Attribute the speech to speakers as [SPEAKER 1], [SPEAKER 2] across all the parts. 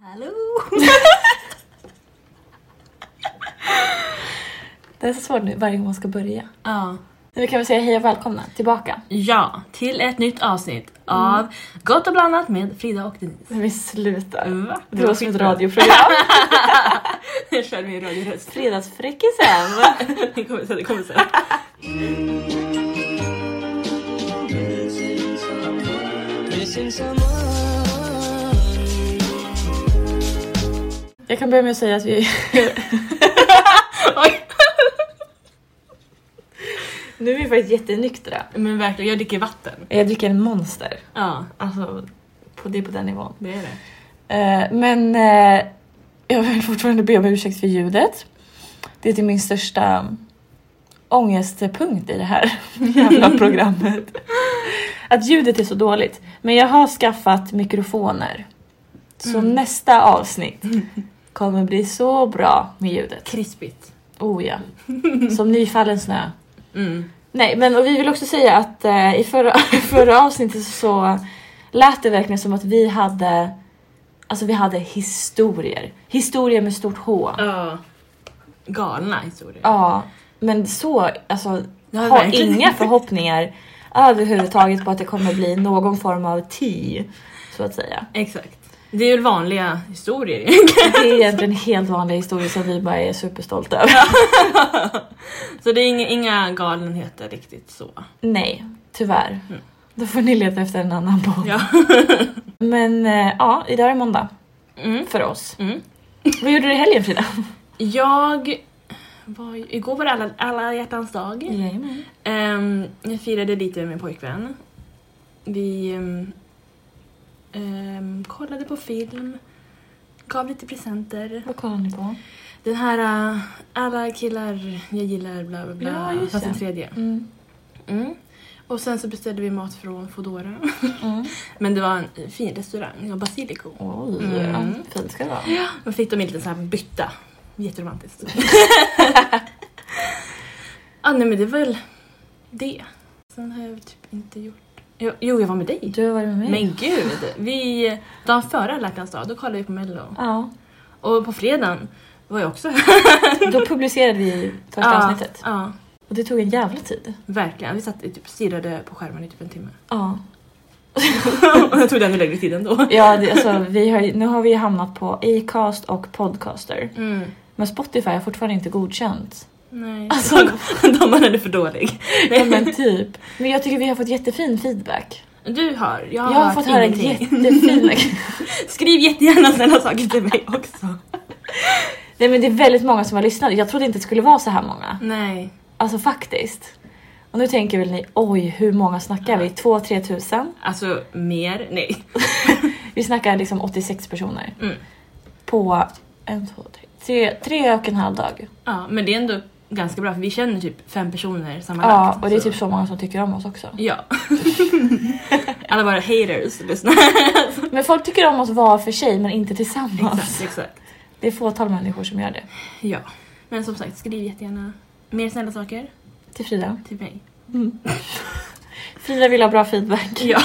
[SPEAKER 1] hallå!
[SPEAKER 2] Det är så svårt nu varje gång man ska börja.
[SPEAKER 1] Ja.
[SPEAKER 2] Men vi kan väl säga hej och välkomna tillbaka.
[SPEAKER 1] ja, till ett nytt avsnitt av Gott och blandat med Frida och Denise.
[SPEAKER 2] Men vi slutar.
[SPEAKER 1] Va?
[SPEAKER 2] Mm, Det var som ett radioprogram.
[SPEAKER 1] Jag kör min radioröst.
[SPEAKER 2] Fredagsfräckisen.
[SPEAKER 1] Det kommer sen, det kommer sen.
[SPEAKER 2] Jag kan börja med att säga att vi...
[SPEAKER 1] Oj.
[SPEAKER 2] nu är vi faktiskt jättenyktra.
[SPEAKER 1] Men verkligen, jag dricker vatten.
[SPEAKER 2] Jag dricker en monster.
[SPEAKER 1] Ja,
[SPEAKER 2] Alltså, på det är på den nivån.
[SPEAKER 1] det är det.
[SPEAKER 2] Eh, men eh, jag vill fortfarande be om ursäkt för ljudet. Det är till min största ångestpunkt i det här jävla programmet. Att ljudet är så dåligt. Men jag har skaffat mikrofoner. Så
[SPEAKER 1] Mm.
[SPEAKER 2] nästa avsnitt kommer bli så bra med ljudet.
[SPEAKER 1] Krispigt.
[SPEAKER 2] Oh ja. Som nyfallen snö.
[SPEAKER 1] Mm.
[SPEAKER 2] Nej, men och vi vill också säga att eh, i förra, förra avsnittet så lät det verkligen som att vi hade Alltså vi hade historier. Historier med stort H.
[SPEAKER 1] Ja. Galna historier.
[SPEAKER 2] Ja, men så, alltså
[SPEAKER 1] Det
[SPEAKER 2] har
[SPEAKER 1] verkligen-
[SPEAKER 2] inga förhoppningar överhuvudtaget på att det kommer bli någon form av ti, så att säga.
[SPEAKER 1] Exakt. Det är ju vanliga historier.
[SPEAKER 2] Det är egentligen helt vanliga historier som vi bara är superstolta över.
[SPEAKER 1] Så det är inga, inga galenheter riktigt så.
[SPEAKER 2] Nej, tyvärr.
[SPEAKER 1] Mm.
[SPEAKER 2] Då får ni leta efter en annan podd.
[SPEAKER 1] Ja.
[SPEAKER 2] Men eh, ja, idag är måndag
[SPEAKER 1] Mm.
[SPEAKER 2] för oss.
[SPEAKER 1] Mm.
[SPEAKER 2] Vad gjorde du i helgen Frida?
[SPEAKER 1] Jag var, igår var det alla, alla hjärtans dag.
[SPEAKER 2] Jajamän.
[SPEAKER 1] Ehm, jag firade lite med min pojkvän. Vi ehm, ehm, kollade på film, gav lite presenter.
[SPEAKER 2] Vad kollar ni på?
[SPEAKER 1] Den här eh, alla killar jag gillar bla bla bla.
[SPEAKER 2] Ja, just
[SPEAKER 1] fast
[SPEAKER 2] det.
[SPEAKER 1] den tredje.
[SPEAKER 2] Mm.
[SPEAKER 1] Mm. Och sen så beställde vi mat från Foodora.
[SPEAKER 2] Mm.
[SPEAKER 1] Men det var en fin restaurang, det var Basilico.
[SPEAKER 2] Oj,
[SPEAKER 1] Mm.
[SPEAKER 2] fint ska det vara.
[SPEAKER 1] Då fick de en liten sån här bytta. Jätteromantiskt. ah, nej men det är väl det. Sen har jag typ inte gjort... Jo, jo jag var med dig.
[SPEAKER 2] Du har varit med mig.
[SPEAKER 1] Men gud! Vi, dagen före alla hjärtans dag, då kollade vi på mello.
[SPEAKER 2] Ja,
[SPEAKER 1] Och på fredagen var jag också här.
[SPEAKER 2] då publicerade vi första avsnittet.
[SPEAKER 1] Ja, ja,
[SPEAKER 2] Och det tog en jävla tid.
[SPEAKER 1] verkligen. Vi satt och typ stirrade på skärmen i typ en timme.
[SPEAKER 2] Ja.
[SPEAKER 1] Och jag tog den längre tid ändå.
[SPEAKER 2] Ja, det, alltså, vi har, nu har vi hamnat på Acast och Podcaster.
[SPEAKER 1] Mm.
[SPEAKER 2] Men Spotify har fortfarande inte godkänt.
[SPEAKER 1] Nej.
[SPEAKER 2] Alltså,
[SPEAKER 1] Domaren är för dålig.
[SPEAKER 2] ja, men typ. Men jag tycker vi har fått jättefin feedback.
[SPEAKER 1] Du har, jag har,
[SPEAKER 2] Jag har fått höra
[SPEAKER 1] ingenting.
[SPEAKER 2] jättefina...
[SPEAKER 1] Skriv jättegärna snälla saker till mig också.
[SPEAKER 2] Nej men det är väldigt många som har lyssnat. Jag trodde inte det skulle vara så här många.
[SPEAKER 1] Nej.
[SPEAKER 2] Alltså faktiskt. Och nu tänker väl ni, oj hur många snackar vi? 2-3 tusen?
[SPEAKER 1] Alltså mer? Nej.
[SPEAKER 2] Vi snackar liksom 86 personer.
[SPEAKER 1] Mm.
[SPEAKER 2] På en, två, tre, tre, tre och en halv dag.
[SPEAKER 1] Ja, men det är ändå ganska bra för vi känner typ fem personer sammanlagt.
[SPEAKER 2] Ja, och det är typ så många som tycker om oss också.
[SPEAKER 1] Ja. Alla bara haters lyssnar.
[SPEAKER 2] Men folk tycker om oss var för sig men inte tillsammans.
[SPEAKER 1] Exakt, exakt.
[SPEAKER 2] Det är fåtal människor som gör det.
[SPEAKER 1] Ja. Men som sagt, skriv jättegärna mer snälla saker
[SPEAKER 2] Till Frida.
[SPEAKER 1] till mig.
[SPEAKER 2] Frida vill ha bra feedback.
[SPEAKER 1] Ja.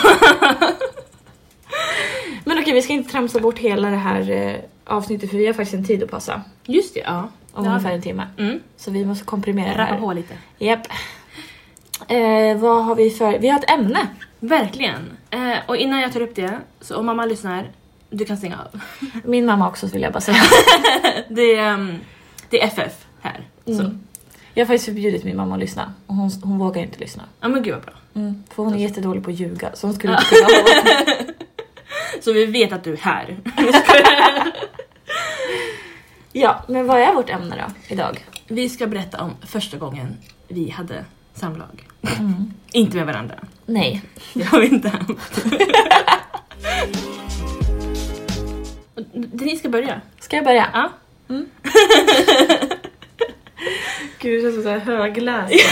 [SPEAKER 2] Men okej, vi ska inte tramsa bort hela det här eh, avsnittet för vi har faktiskt en tid att passa.
[SPEAKER 1] Just det, ja. Eh,
[SPEAKER 2] Om
[SPEAKER 1] Det har
[SPEAKER 2] ungefär
[SPEAKER 1] vi.
[SPEAKER 2] en timme.
[SPEAKER 1] Mm.
[SPEAKER 2] Så vi måste komprimera det
[SPEAKER 1] Rappa
[SPEAKER 2] här.
[SPEAKER 1] på lite.
[SPEAKER 2] Japp. Eh, vad har vi för... Vi har ett ämne.
[SPEAKER 1] Verkligen. Eh, och innan jag tar upp det, så om mamma lyssnar, du kan stänga av.
[SPEAKER 2] Min mamma också vill jag bara säga.
[SPEAKER 1] Det är, ehm, det är FF här. Så.
[SPEAKER 2] Mm. Jag har faktiskt förbjudit min mamma att lyssna och hon, hon vågar inte lyssna.
[SPEAKER 1] Ja men gud vad bra.
[SPEAKER 2] Mm. För hon är jättedålig på att ljuga så hon skulle inte kunna hålla
[SPEAKER 1] Så vi vet att du är här.
[SPEAKER 2] Ja, men vad är vårt ämne då idag?
[SPEAKER 1] Vi ska berätta om första gången vi hade samlag.
[SPEAKER 2] Mm.
[SPEAKER 1] Inte med varandra.
[SPEAKER 2] Nej.
[SPEAKER 1] Det har vi inte haft. Och det ni ska börja.
[SPEAKER 2] Ska jag börja?
[SPEAKER 1] Ja.
[SPEAKER 2] Gud, jag känns såhär högläst.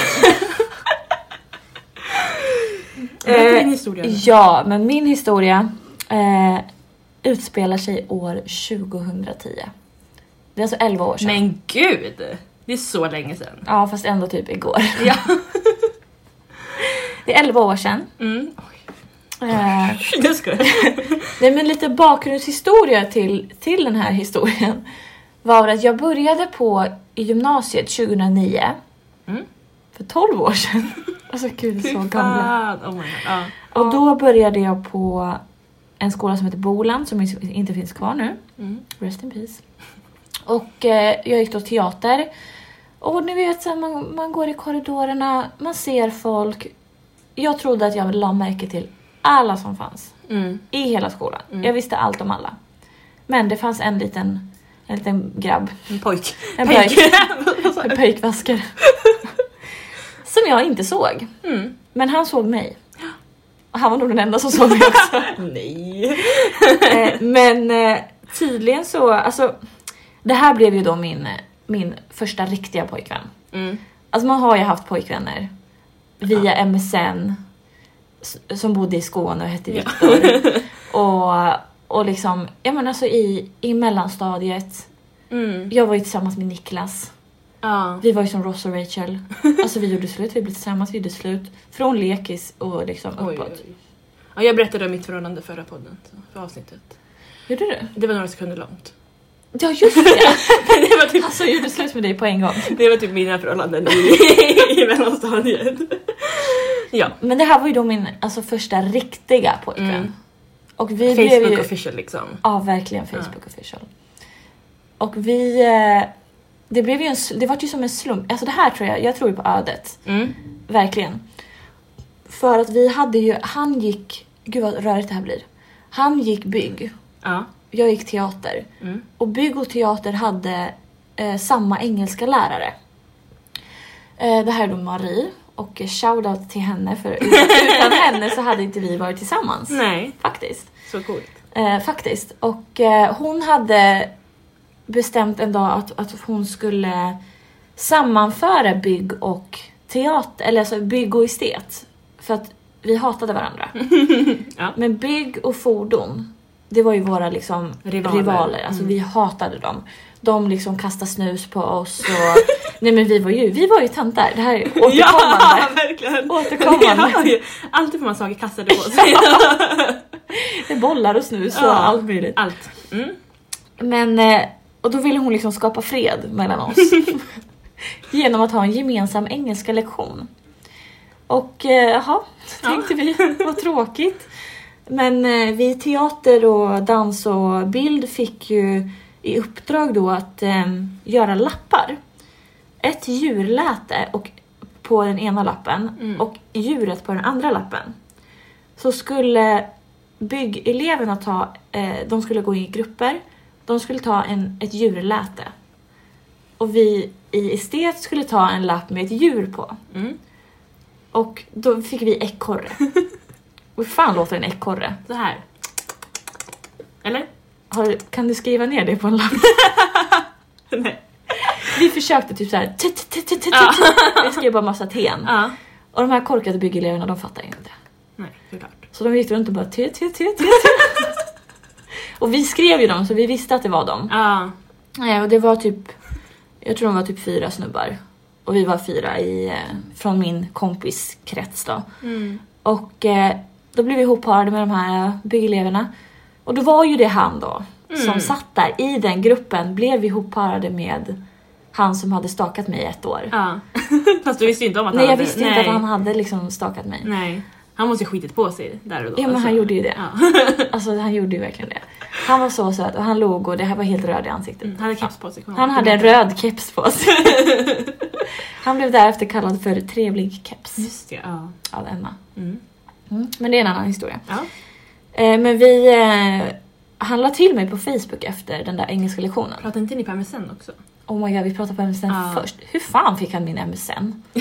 [SPEAKER 1] Berätta
[SPEAKER 2] Eh,
[SPEAKER 1] din historia. nu.
[SPEAKER 2] ja, men min historia eh, utspelar sig år 2010. Det är alltså 11 år sedan.
[SPEAKER 1] Men gud! Det är så länge sedan.
[SPEAKER 2] Ja, fast ändå typ igår.
[SPEAKER 1] Ja.
[SPEAKER 2] Det är 11 år sedan.
[SPEAKER 1] Mm.
[SPEAKER 2] Eh,
[SPEAKER 1] Jag skojar.
[SPEAKER 2] Nej men lite bakgrundshistoria till, till den här historien var att jag började på i gymnasiet 2009.
[SPEAKER 1] Mm.
[SPEAKER 2] För 12 år sedan. Alltså gud, vi är så
[SPEAKER 1] Fy
[SPEAKER 2] gamla.
[SPEAKER 1] fan. Oh my God. Ja.
[SPEAKER 2] Och då började jag på en skola som heter Boland som inte finns kvar nu.
[SPEAKER 1] Mm.
[SPEAKER 2] Rest in peace. Och eh, jag gick då teater. Och ni vet, så här, man, man går i korridorerna, man ser folk. Jag trodde att jag la märke till alla som fanns
[SPEAKER 1] Mm.
[SPEAKER 2] i hela skolan.
[SPEAKER 1] Mm.
[SPEAKER 2] Jag visste allt om alla. Men det fanns en liten, en liten grabb,
[SPEAKER 1] En pojk.
[SPEAKER 2] En en pöjkvaskare, som jag inte såg.
[SPEAKER 1] mm.
[SPEAKER 2] Men han såg mig. Och han var nog den enda som såg mig också.
[SPEAKER 1] Nej.
[SPEAKER 2] Eh, Men eh, tydligen så, alltså det här blev ju då min, min första riktiga pojkvän.
[SPEAKER 1] Mm.
[SPEAKER 2] Alltså man har ju haft pojkvänner via MSN s- som bodde i Skåne och hette Viktor. och, och liksom, ja men alltså i, i mellanstadiet.
[SPEAKER 1] Mm.
[SPEAKER 2] Jag var ju tillsammans med Niklas.
[SPEAKER 1] Ja.
[SPEAKER 2] Vi var ju som Ross och Rachel. Alltså vi gjorde slut, vi blev tillsammans, vi gjorde slut. Från lekis och liksom
[SPEAKER 1] Oj,
[SPEAKER 2] uppåt.
[SPEAKER 1] oj. Ja, jag berättade om mitt förhållande förra podden, så, för avsnittet.
[SPEAKER 2] Gjorde du?
[SPEAKER 1] Det var några sekunder långt.
[SPEAKER 2] Ja just det!
[SPEAKER 1] det, var typ,
[SPEAKER 2] Alltså jag gjorde slut med dig på en gång.
[SPEAKER 1] det var typ mina förhållanden i, i mellanstadiet. Ja.
[SPEAKER 2] Men det här var ju då min alltså, första riktiga pojkvän.
[SPEAKER 1] Mm.
[SPEAKER 2] Och vi blev
[SPEAKER 1] Facebook
[SPEAKER 2] ju...
[SPEAKER 1] official liksom.
[SPEAKER 2] Ja, verkligen Facebook official. Och vi... eh, Det blev ju en, sl- det var ju som en slump. Alltså det här tror jag, jag tror ju på ödet.
[SPEAKER 1] Mm.
[SPEAKER 2] Verkligen. För att vi hade ju, han gick... Gud vad rörigt det här blir. Han gick bygg,
[SPEAKER 1] Ja.
[SPEAKER 2] jag gick teater.
[SPEAKER 1] Mm.
[SPEAKER 2] Och bygg och teater hade eh, samma engelska lärare. Eh, det här är då Marie. Och eh, shoutout till henne för utan, utan henne så hade inte vi varit tillsammans.
[SPEAKER 1] Nej,
[SPEAKER 2] Faktiskt.
[SPEAKER 1] så coolt.
[SPEAKER 2] Eh, faktiskt. Och eh, hon hade bestämt en dag att, att hon skulle sammanföra bygg och teater, eller alltså bygg och estet. För att vi hatade varandra.
[SPEAKER 1] Ja.
[SPEAKER 2] Men bygg och fordon, det var ju våra liksom
[SPEAKER 1] Rivaler. Mm.
[SPEAKER 2] rivaler. Alltså vi hatade dem. De liksom kastade snus på oss och... Nej men vi var ju, vi var ju tantar. Det här är återkommande.
[SPEAKER 1] Ja, verkligen!
[SPEAKER 2] Återkommande.
[SPEAKER 1] Ja, ja. Alltid får man saker kastade på sig.
[SPEAKER 2] Det är bollar och snus och
[SPEAKER 1] Ja.
[SPEAKER 2] allt möjligt.
[SPEAKER 1] Allt. Mm.
[SPEAKER 2] Men, eh, och då ville hon liksom skapa fred mellan oss. Genom att ha en gemensam engelska lektion. Och eh, jaha, tänkte vi, vad tråkigt. Men eh, vi i teater och dans och bild fick ju i uppdrag då att eh, göra lappar. Ett djurläte och, på den ena lappen
[SPEAKER 1] Mm.
[SPEAKER 2] och djuret på den andra lappen. Så skulle byggeleverna ta, eh, de skulle gå in i grupper, de skulle ta en, ett djurläte. Och vi i estet skulle ta en lapp med ett djur på.
[SPEAKER 1] Mm.
[SPEAKER 2] Och då fick vi ekorre. Och hur fan låter en ekorre?
[SPEAKER 1] Så här. Eller?
[SPEAKER 2] Har, du- kan du skriva ner det på en lapp?
[SPEAKER 1] Nej.
[SPEAKER 2] Vi försökte typ såhär...
[SPEAKER 1] Ja.
[SPEAKER 2] Vi skrev bara massa ten.
[SPEAKER 1] Ja.
[SPEAKER 2] Och de här korkade byggeleverna de fattar inte.
[SPEAKER 1] Nej, såklart.
[SPEAKER 2] Så de gick runt och bara te, te, te, te, te. Och vi skrev ju dem så vi visste att det var dem.
[SPEAKER 1] Ja.
[SPEAKER 2] Nej, och det var typ... Jag tror de var typ fyra snubbar. Och vi var fyra i, eh, från min kompis krets då.
[SPEAKER 1] Mm.
[SPEAKER 2] Och eh, då blev vi ihopparade med de här byggeleverna. Och då var ju det han då,
[SPEAKER 1] Mm.
[SPEAKER 2] som satt där i den gruppen, blev vi ihopparade med han som hade stakat mig i ett år.
[SPEAKER 1] Ja. Fast du visste ju inte om att
[SPEAKER 2] nej,
[SPEAKER 1] han
[SPEAKER 2] jag
[SPEAKER 1] hade...
[SPEAKER 2] visste inte att han hade liksom stakat mig.
[SPEAKER 1] Nej. Han måste ju ha skitit på sig där och då.
[SPEAKER 2] Ja, men han gjorde ju det.
[SPEAKER 1] Ja.
[SPEAKER 2] Alltså han gjorde ju verkligen det. Han var så söt och han låg och det här var helt röd i ansiktet.
[SPEAKER 1] Mm, Han hade keps på sig. kommer jag
[SPEAKER 2] Han
[SPEAKER 1] ihåg.
[SPEAKER 2] hade en röd keps på sig. han blev därefter kallad för trevlig keps
[SPEAKER 1] Just det, ja.
[SPEAKER 2] av Emma.
[SPEAKER 1] Mm.
[SPEAKER 2] Mm. Men det är en annan historia.
[SPEAKER 1] Ja.
[SPEAKER 2] Eh, men vi... Eh, han la till mig på Facebook efter den där engelska lektionen.
[SPEAKER 1] Pratade inte ni på MSN också?
[SPEAKER 2] Oh my god, vi pratade på MSN
[SPEAKER 1] Ja.
[SPEAKER 2] först. Hur fan fick han min MSN?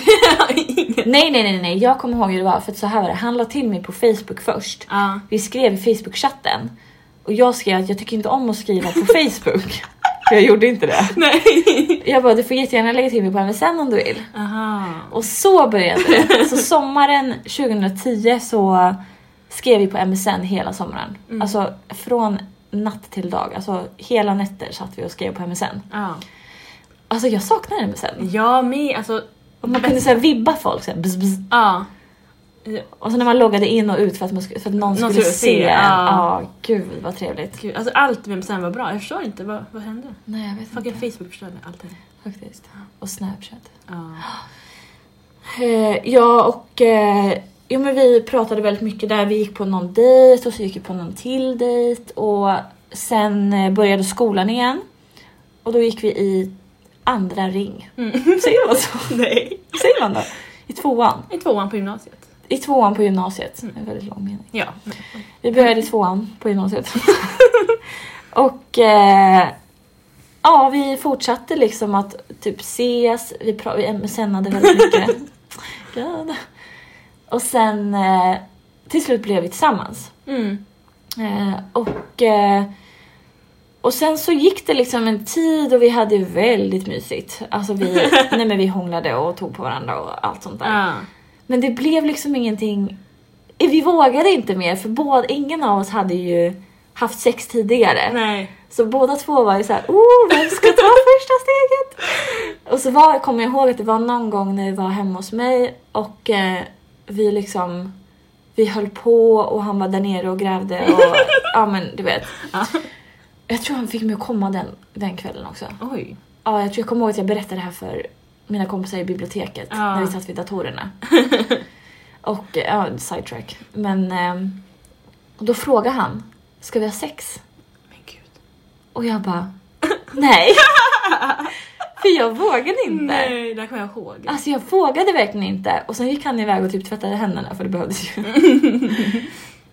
[SPEAKER 2] nej, nej, nej, nej, jag kommer ihåg hur det var för att så här var det. Han la till mig på Facebook först.
[SPEAKER 1] Ja.
[SPEAKER 2] Vi skrev i Facebook-chatten och jag skrev att jag tycker inte om att skriva på Facebook. För jag gjorde inte det.
[SPEAKER 1] Nej!
[SPEAKER 2] Jag bara, du får jättegärna lägga till mig på MSN om du vill.
[SPEAKER 1] Aha.
[SPEAKER 2] Och så började det. Så sommaren 2010 så skrev vi på MSN hela sommaren.
[SPEAKER 1] Mm.
[SPEAKER 2] Alltså från natt till dag. Alltså hela nätter satt vi och skrev på MSN.
[SPEAKER 1] Ja.
[SPEAKER 2] Alltså jag saknar MSN.
[SPEAKER 1] Jag med, alltså...
[SPEAKER 2] Och man kunde så här vibba folk så här, bzz, bzz.
[SPEAKER 1] Ja. Ja.
[SPEAKER 2] Och så när man loggade in och ut för att, man skulle, för att någon skulle
[SPEAKER 1] skulle se,
[SPEAKER 2] se en.
[SPEAKER 1] ja.
[SPEAKER 2] Ja, gud vad trevligt.
[SPEAKER 1] Gud, alltså allt med sen var bra. Jag förstår inte, vad, vad hände?
[SPEAKER 2] Nej, jag vet
[SPEAKER 1] Fucking
[SPEAKER 2] inte.
[SPEAKER 1] Facebook förstörde allting.
[SPEAKER 2] Faktiskt. Och Snapchat.
[SPEAKER 1] Ja.
[SPEAKER 2] Eh, ja och eh, jo, men vi pratade väldigt mycket där. Vi gick på någon dejt och så gick vi på någon till dejt och sen eh, började skolan igen. Och då gick vi i andra ring. Säger man så?
[SPEAKER 1] Mm. Nej.
[SPEAKER 2] Säger man då? I tvåan.
[SPEAKER 1] I tvåan på gymnasiet.
[SPEAKER 2] I tvåan på gymnasiet.
[SPEAKER 1] Mm.
[SPEAKER 2] En väldigt lång mening.
[SPEAKER 1] Ja.
[SPEAKER 2] Vi började i tvåan på gymnasiet. och eh, ja, vi fortsatte liksom att typ ses, vi, pra- vi msnade väldigt mycket. God. Och sen eh, till slut blev vi tillsammans.
[SPEAKER 1] Mm.
[SPEAKER 2] Eh, och, eh, och sen så gick det liksom en tid och vi hade ju väldigt mysigt. Alltså vi, nej men vi hånglade och tog på varandra och allt sånt där.
[SPEAKER 1] Ja.
[SPEAKER 2] Men det blev liksom ingenting. Eh, Vi vågade inte mer för båda, ingen av oss hade ju haft sex tidigare.
[SPEAKER 1] Nej.
[SPEAKER 2] Så båda två var ju såhär, oh, vem ska ta första steget? Och så var, kommer jag ihåg att det var någon gång när vi var hemma hos mig och eh, vi liksom, vi höll på och han var där nere och grävde och ja men du vet.
[SPEAKER 1] Ja.
[SPEAKER 2] Jag tror han fick mig att komma den, den kvällen också.
[SPEAKER 1] Oj.
[SPEAKER 2] Ja, jag tror jag kommer ihåg att jag berättade det här för mina kompisar i biblioteket
[SPEAKER 1] Ja.
[SPEAKER 2] när vi satt vid datorerna. och eh, ja, sidetrack. Men ehm, och då frågade han, ska vi ha sex?
[SPEAKER 1] Men gud.
[SPEAKER 2] Och jag bara, nej. för jag vågade inte.
[SPEAKER 1] Nej, det här kommer jag ihåg.
[SPEAKER 2] Alltså jag vågade verkligen inte. Och sen gick han iväg och typ tvättade händerna för det behövdes ju.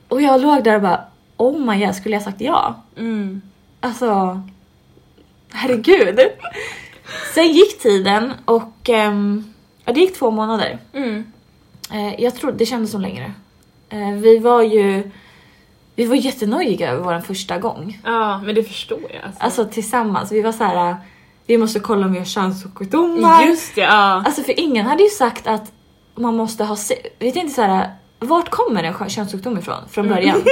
[SPEAKER 2] och jag låg där och bara, oh my god, skulle jag sagt ja?
[SPEAKER 1] Mm.
[SPEAKER 2] Alltså, herregud. Sen gick tiden och ehm, ja, det gick två månader.
[SPEAKER 1] Mm.
[SPEAKER 2] Eh, jag tror det kändes som längre. Eh, vi var ju vi var jättenojiga över vår första gång.
[SPEAKER 1] Ja, men det förstår jag. Alltså.
[SPEAKER 2] Alltså tillsammans. Vi var så här. eh, vi måste kolla om vi har könssjukdomar.
[SPEAKER 1] Just det, ja.
[SPEAKER 2] Alltså för ingen hade ju sagt att man måste ha se- Vi tänkte så här. eh, Vart kommer en skö- könssjukdom ifrån från början?
[SPEAKER 1] Mm.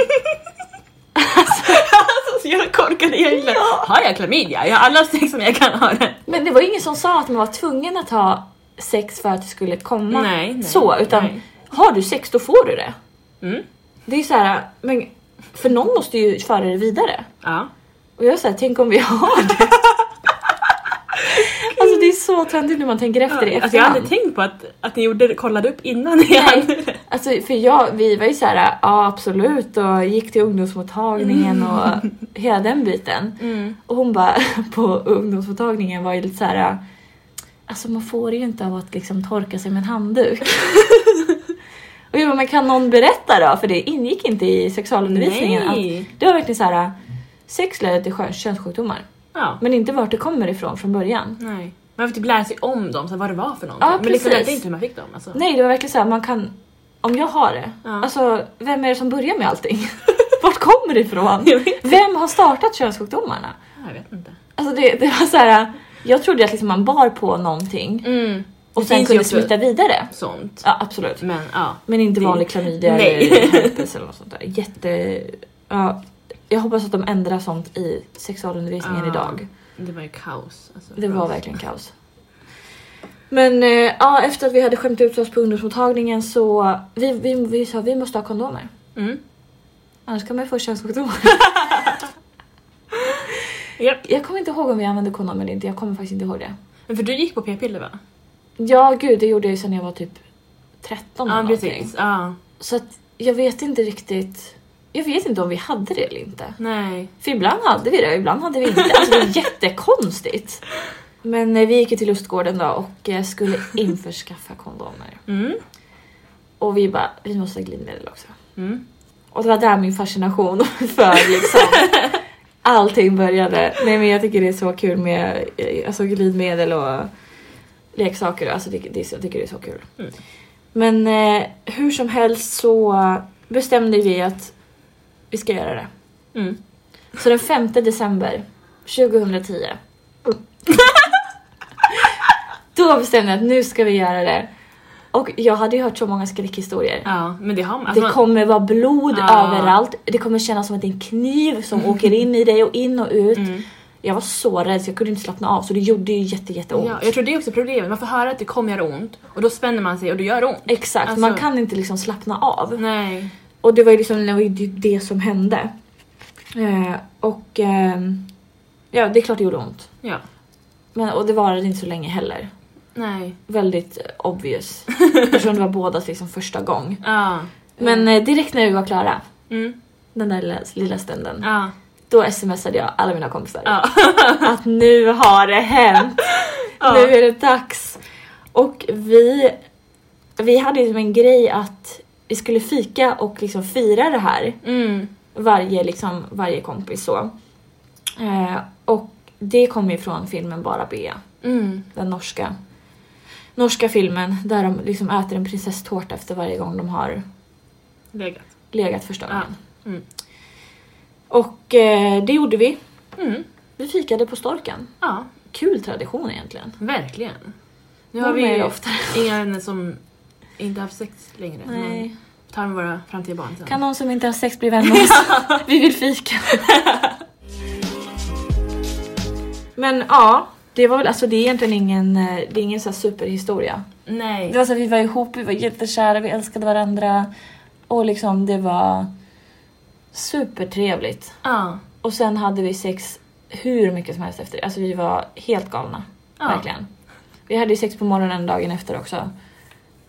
[SPEAKER 1] Alltså, jag korkade egentligen. Har jag klamydia? Jag har alla sex som jag kan ha det.
[SPEAKER 2] Men det var ju ingen som sa att man var tvungen att ha sex för att det skulle komma.
[SPEAKER 1] Nej, nej,
[SPEAKER 2] så, utan
[SPEAKER 1] nej.
[SPEAKER 2] har du sex då får du det.
[SPEAKER 1] Mm.
[SPEAKER 2] Det är ju så här, men för någon måste ju föra det vidare.
[SPEAKER 1] Ja.
[SPEAKER 2] Och jag säger, tänk om vi har det. alltså det är så töntigt när man tänker efter i
[SPEAKER 1] Alltså, jag hade
[SPEAKER 2] efterhand.
[SPEAKER 1] aldrig tänkt på att, att ni gjorde, kollade upp innan ni hade det.
[SPEAKER 2] Alltså för jag, vi var ju så här, ja absolut och gick till ungdomsmottagningen
[SPEAKER 1] Mm.
[SPEAKER 2] och hela den biten. Och hon bara på ungdomsmottagningen var ju lite så här. äh, Alltså man får det ju inte av att liksom torka sig med en handduk. och jag bara, men kan någon berätta då? För det ingick inte i sexualundervisningen.
[SPEAKER 1] Nej.
[SPEAKER 2] Att det var verkligen så här. äh, Sex leder till skön- könssjukdomar.
[SPEAKER 1] Ja.
[SPEAKER 2] Men inte vart det kommer ifrån från början.
[SPEAKER 1] Nej. Man får typ lära sig om dem, så här, vad det var för någonting.
[SPEAKER 2] Ja,
[SPEAKER 1] men liksom,
[SPEAKER 2] precis.
[SPEAKER 1] det är inte hur man fick dem. Alltså.
[SPEAKER 2] Nej det var verkligen så här, man kan. Om jag har det.
[SPEAKER 1] Ja.
[SPEAKER 2] Alltså vem är det som börjar med allting? vart kommer det ifrån?
[SPEAKER 1] Jag vet
[SPEAKER 2] Vem har startat könssjukdomarna?
[SPEAKER 1] Ja, Jag vet inte.
[SPEAKER 2] Alltså det, det var så här. Jag trodde att liksom man bar på någonting.
[SPEAKER 1] Mm.
[SPEAKER 2] Och
[SPEAKER 1] Det
[SPEAKER 2] sen
[SPEAKER 1] finns
[SPEAKER 2] kunde
[SPEAKER 1] ju också-
[SPEAKER 2] smitta vidare.
[SPEAKER 1] Sånt.
[SPEAKER 2] Ja absolut.
[SPEAKER 1] Men ja.
[SPEAKER 2] Men inte
[SPEAKER 1] Det-
[SPEAKER 2] vanlig klamydia
[SPEAKER 1] Nej.
[SPEAKER 2] eller herpes eller något sånt där. Jätte... Ja, jag hoppas att de ändrar sånt i sexualundervisningen
[SPEAKER 1] Ja.
[SPEAKER 2] idag.
[SPEAKER 1] Det var ju kaos. Alltså,
[SPEAKER 2] Det var verkligen kaos. Men eh, ja, efter att vi hade skämt ut oss på ungdomsmottagningen så vi, vi, vi sa vi måste ha kondomer.
[SPEAKER 1] Mm.
[SPEAKER 2] Annars kan man ju få könssjukdomar.
[SPEAKER 1] Japp.
[SPEAKER 2] Jag kommer inte ihåg om vi använde kondom eller inte. Jag kommer faktiskt inte ihåg det.
[SPEAKER 1] Men för du gick på p-piller va?
[SPEAKER 2] Ja, gud, det gjorde jag ju sen jag var typ 13
[SPEAKER 1] Ja
[SPEAKER 2] eller någonting.
[SPEAKER 1] precis. Ja.
[SPEAKER 2] Så att jag vet inte riktigt. Jag vet inte om vi hade det eller inte.
[SPEAKER 1] Nej.
[SPEAKER 2] För ibland hade vi det och ibland hade vi inte. Alltså det är jättekonstigt. Men eh, vi gick ju till lustgården då och eh, skulle införskaffa kondomer.
[SPEAKER 1] Mm.
[SPEAKER 2] Och vi bara, vi måste ha glidmedel också.
[SPEAKER 1] Mm.
[SPEAKER 2] Och det var där min fascination för liksom allting började. Nej men jag tycker det är så kul med eh, alltså, glidmedel och leksaker. Alltså det, det, är så- jag tycker det är så kul.
[SPEAKER 1] Mm.
[SPEAKER 2] Men eh, hur som helst så bestämde vi att vi ska göra det.
[SPEAKER 1] Mm.
[SPEAKER 2] Så den 5 december 2010. då bestämde jag att nu ska vi göra det. Och jag hade ju hört så många skräckhistorier.
[SPEAKER 1] Ja men det har man. Alltså,
[SPEAKER 2] det
[SPEAKER 1] man-
[SPEAKER 2] kommer vara blod
[SPEAKER 1] Ja.
[SPEAKER 2] överallt. Det kommer kännas som att det är en kniv som åker in i dig och in och ut.
[SPEAKER 1] Mm.
[SPEAKER 2] Jag var så rädd så jag kunde inte slappna av så det gjorde ju jätte, jätteont.
[SPEAKER 1] Ja, jag tror det är också problemet, man får höra att det kommer göra ont och då spänner man sig och då gör det ont.
[SPEAKER 2] Exakt,
[SPEAKER 1] Alltså-
[SPEAKER 2] man kan inte liksom slappna av.
[SPEAKER 1] Nej.
[SPEAKER 2] Och det var ju liksom, det, var ju det som hände. Eh, och ehm, ja, det är klart det gjorde ont.
[SPEAKER 1] Ja.
[SPEAKER 2] Men, och det varade inte så länge heller.
[SPEAKER 1] Nej.
[SPEAKER 2] Väldigt eh, obvious. Eftersom det var bådas liksom första gång.
[SPEAKER 1] Ja.
[SPEAKER 2] Men eh, direkt när vi var klara,
[SPEAKER 1] Mm.
[SPEAKER 2] den där lilla, lilla stunden,
[SPEAKER 1] Ja.
[SPEAKER 2] då smsade jag alla mina kompisar.
[SPEAKER 1] Ja.
[SPEAKER 2] Att nu har det hänt!
[SPEAKER 1] Ja.
[SPEAKER 2] Nu är det dags! Och vi, vi hade ju som en grej att vi skulle fika och liksom fira det här.
[SPEAKER 1] Mm.
[SPEAKER 2] varje, liksom, varje kompis så. Eh, och det kommer ju från filmen Bara Bea,
[SPEAKER 1] Mm.
[SPEAKER 2] den norska. Norska filmen där de liksom äter en prinsesstårta efter varje gång de har
[SPEAKER 1] Legat.
[SPEAKER 2] legat första
[SPEAKER 1] Ja.
[SPEAKER 2] gången.
[SPEAKER 1] Mm.
[SPEAKER 2] Och eh, det gjorde vi.
[SPEAKER 1] Mm.
[SPEAKER 2] Vi fikade på Storken.
[SPEAKER 1] Ja,
[SPEAKER 2] Kul tradition egentligen.
[SPEAKER 1] verkligen. Nu
[SPEAKER 2] Hon
[SPEAKER 1] har vi
[SPEAKER 2] är
[SPEAKER 1] ju
[SPEAKER 2] ofta.
[SPEAKER 1] inga vänner som inte har haft sex längre. Men
[SPEAKER 2] Nej.
[SPEAKER 1] tar med våra framtida barn sen.
[SPEAKER 2] Kan någon som inte har sex bli vän med oss? vi vill fika. Men ja, det var väl alltså det är egentligen ingen, eh, det är ingen så här superhistoria.
[SPEAKER 1] Nej.
[SPEAKER 2] Det var så här, vi var ihop, vi var jättekära, vi älskade varandra och liksom det var supertrevligt.
[SPEAKER 1] Ja.
[SPEAKER 2] Och sen hade vi sex hur mycket som helst efter. Alltså vi var helt galna.
[SPEAKER 1] Ja.
[SPEAKER 2] Verkligen. Vi hade ju sex på morgonen dagen efter också.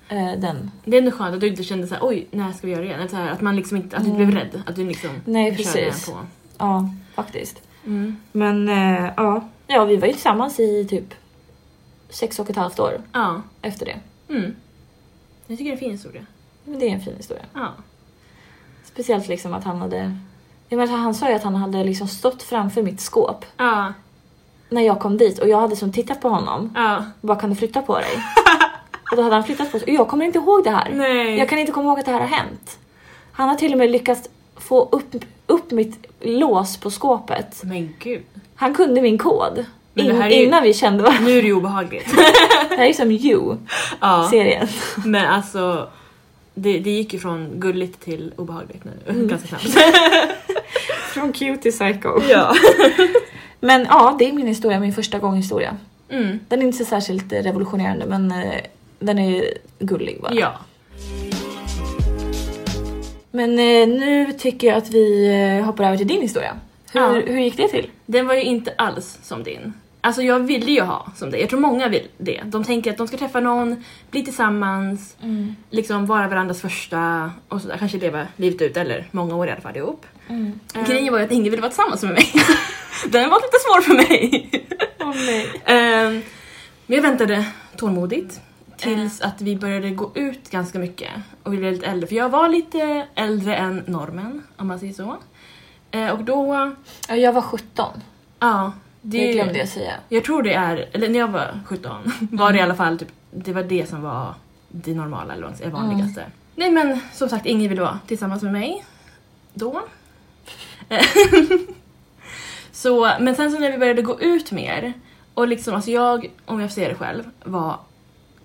[SPEAKER 2] Eh, den.
[SPEAKER 1] Det är ändå skönt att du inte kände såhär oj, när ska vi göra det igen? Eller så här, att man liksom inte, att du inte blev rädd. Att du liksom
[SPEAKER 2] Mm. Nej,
[SPEAKER 1] körde
[SPEAKER 2] precis.
[SPEAKER 1] på.
[SPEAKER 2] Ja, faktiskt.
[SPEAKER 1] Mm.
[SPEAKER 2] Men eh, ja. Ja, vi var ju tillsammans i typ sex och ett halvt år
[SPEAKER 1] Ja.
[SPEAKER 2] efter det.
[SPEAKER 1] Mm. Jag tycker det är en fin historia.
[SPEAKER 2] Men det är en fin historia.
[SPEAKER 1] Ja.
[SPEAKER 2] Speciellt liksom att han hade... Jag menar, han sa ju att han hade liksom stått framför mitt skåp
[SPEAKER 1] Ja.
[SPEAKER 2] när jag kom dit och jag hade som tittat på honom
[SPEAKER 1] Ja.
[SPEAKER 2] och bara kan du flytta på dig? och då hade han flyttat på sig och jag kommer inte ihåg det här.
[SPEAKER 1] Nej.
[SPEAKER 2] Jag kan inte komma ihåg att det här har hänt. Han har till och med lyckats få upp, upp mitt lås på skåpet.
[SPEAKER 1] Men gud.
[SPEAKER 2] Han kunde min kod.
[SPEAKER 1] Men
[SPEAKER 2] In,
[SPEAKER 1] det här är ju-
[SPEAKER 2] Innan vi kände varandra.
[SPEAKER 1] Nu är det ju obehagligt.
[SPEAKER 2] Det här är som you-serien.
[SPEAKER 1] ja. Men alltså. Det, det gick ju från gulligt till obehagligt nu. Ganska snabbt.
[SPEAKER 2] Från cute till psycho.
[SPEAKER 1] ja.
[SPEAKER 2] Men ja, det är min historia, min första gång historia.
[SPEAKER 1] Mm.
[SPEAKER 2] Den är inte så särskilt eh, revolutionerande men eh, den är gullig bara.
[SPEAKER 1] Ja.
[SPEAKER 2] Men eh, nu tycker jag att vi eh, hoppar över till din historia. Hur,
[SPEAKER 1] Ja.
[SPEAKER 2] hur gick det till?
[SPEAKER 1] Den var ju inte alls som din. Alltså jag ville ju ha som dig. Jag tror många vill det. De tänker att de ska träffa någon, bli tillsammans,
[SPEAKER 2] Mm.
[SPEAKER 1] liksom vara varandras första och sådär. Kanske leva livet ut eller många år i alla fall ihop.
[SPEAKER 2] Mm.
[SPEAKER 1] Grejen var ju att ingen ville vara tillsammans med mig. Den var lite svår för mig.
[SPEAKER 2] Åh nej.
[SPEAKER 1] Ehm, Men jag väntade tålmodigt tills att vi började gå ut ganska mycket och vi blev lite äldre. För jag var lite äldre än normen, om man säger så. Eh, Och då,
[SPEAKER 2] Ja, jag var 17.
[SPEAKER 1] ja. Det,
[SPEAKER 2] Det glömde jag säga.
[SPEAKER 1] Jag tror det är, eller när jag var 17 var det i alla fall typ, det var det som var det normala eller vad- det vanligaste. Nej men som sagt, ingen ville vara tillsammans med mig då. Eh, så, men sen så när vi började gå ut mer och liksom, alltså jag, om jag får säga det själv, var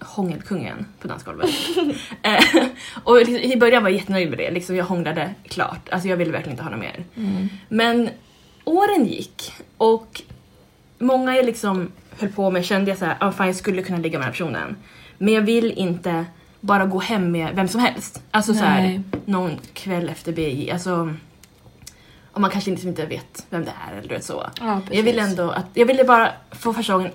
[SPEAKER 1] hångelkungen på dansgolvet. Eh, och liksom, i början var jag jättenöjd med det, liksom jag hånglade klart. Alltså jag ville verkligen inte ha något mer.
[SPEAKER 2] Mm.
[SPEAKER 1] Men åren gick och många jag liksom höll på med kände jag så här, ah, fan jag skulle kunna ligga med den här personen. Men jag vill inte bara gå hem med vem som helst. Alltså så
[SPEAKER 2] Nej.
[SPEAKER 1] här, någon kväll efter BJ. Alltså, och man kanske liksom inte vet vem det är eller du vet så.
[SPEAKER 2] Ja, precis.
[SPEAKER 1] jag ville ändå att, jag ville bara få första gången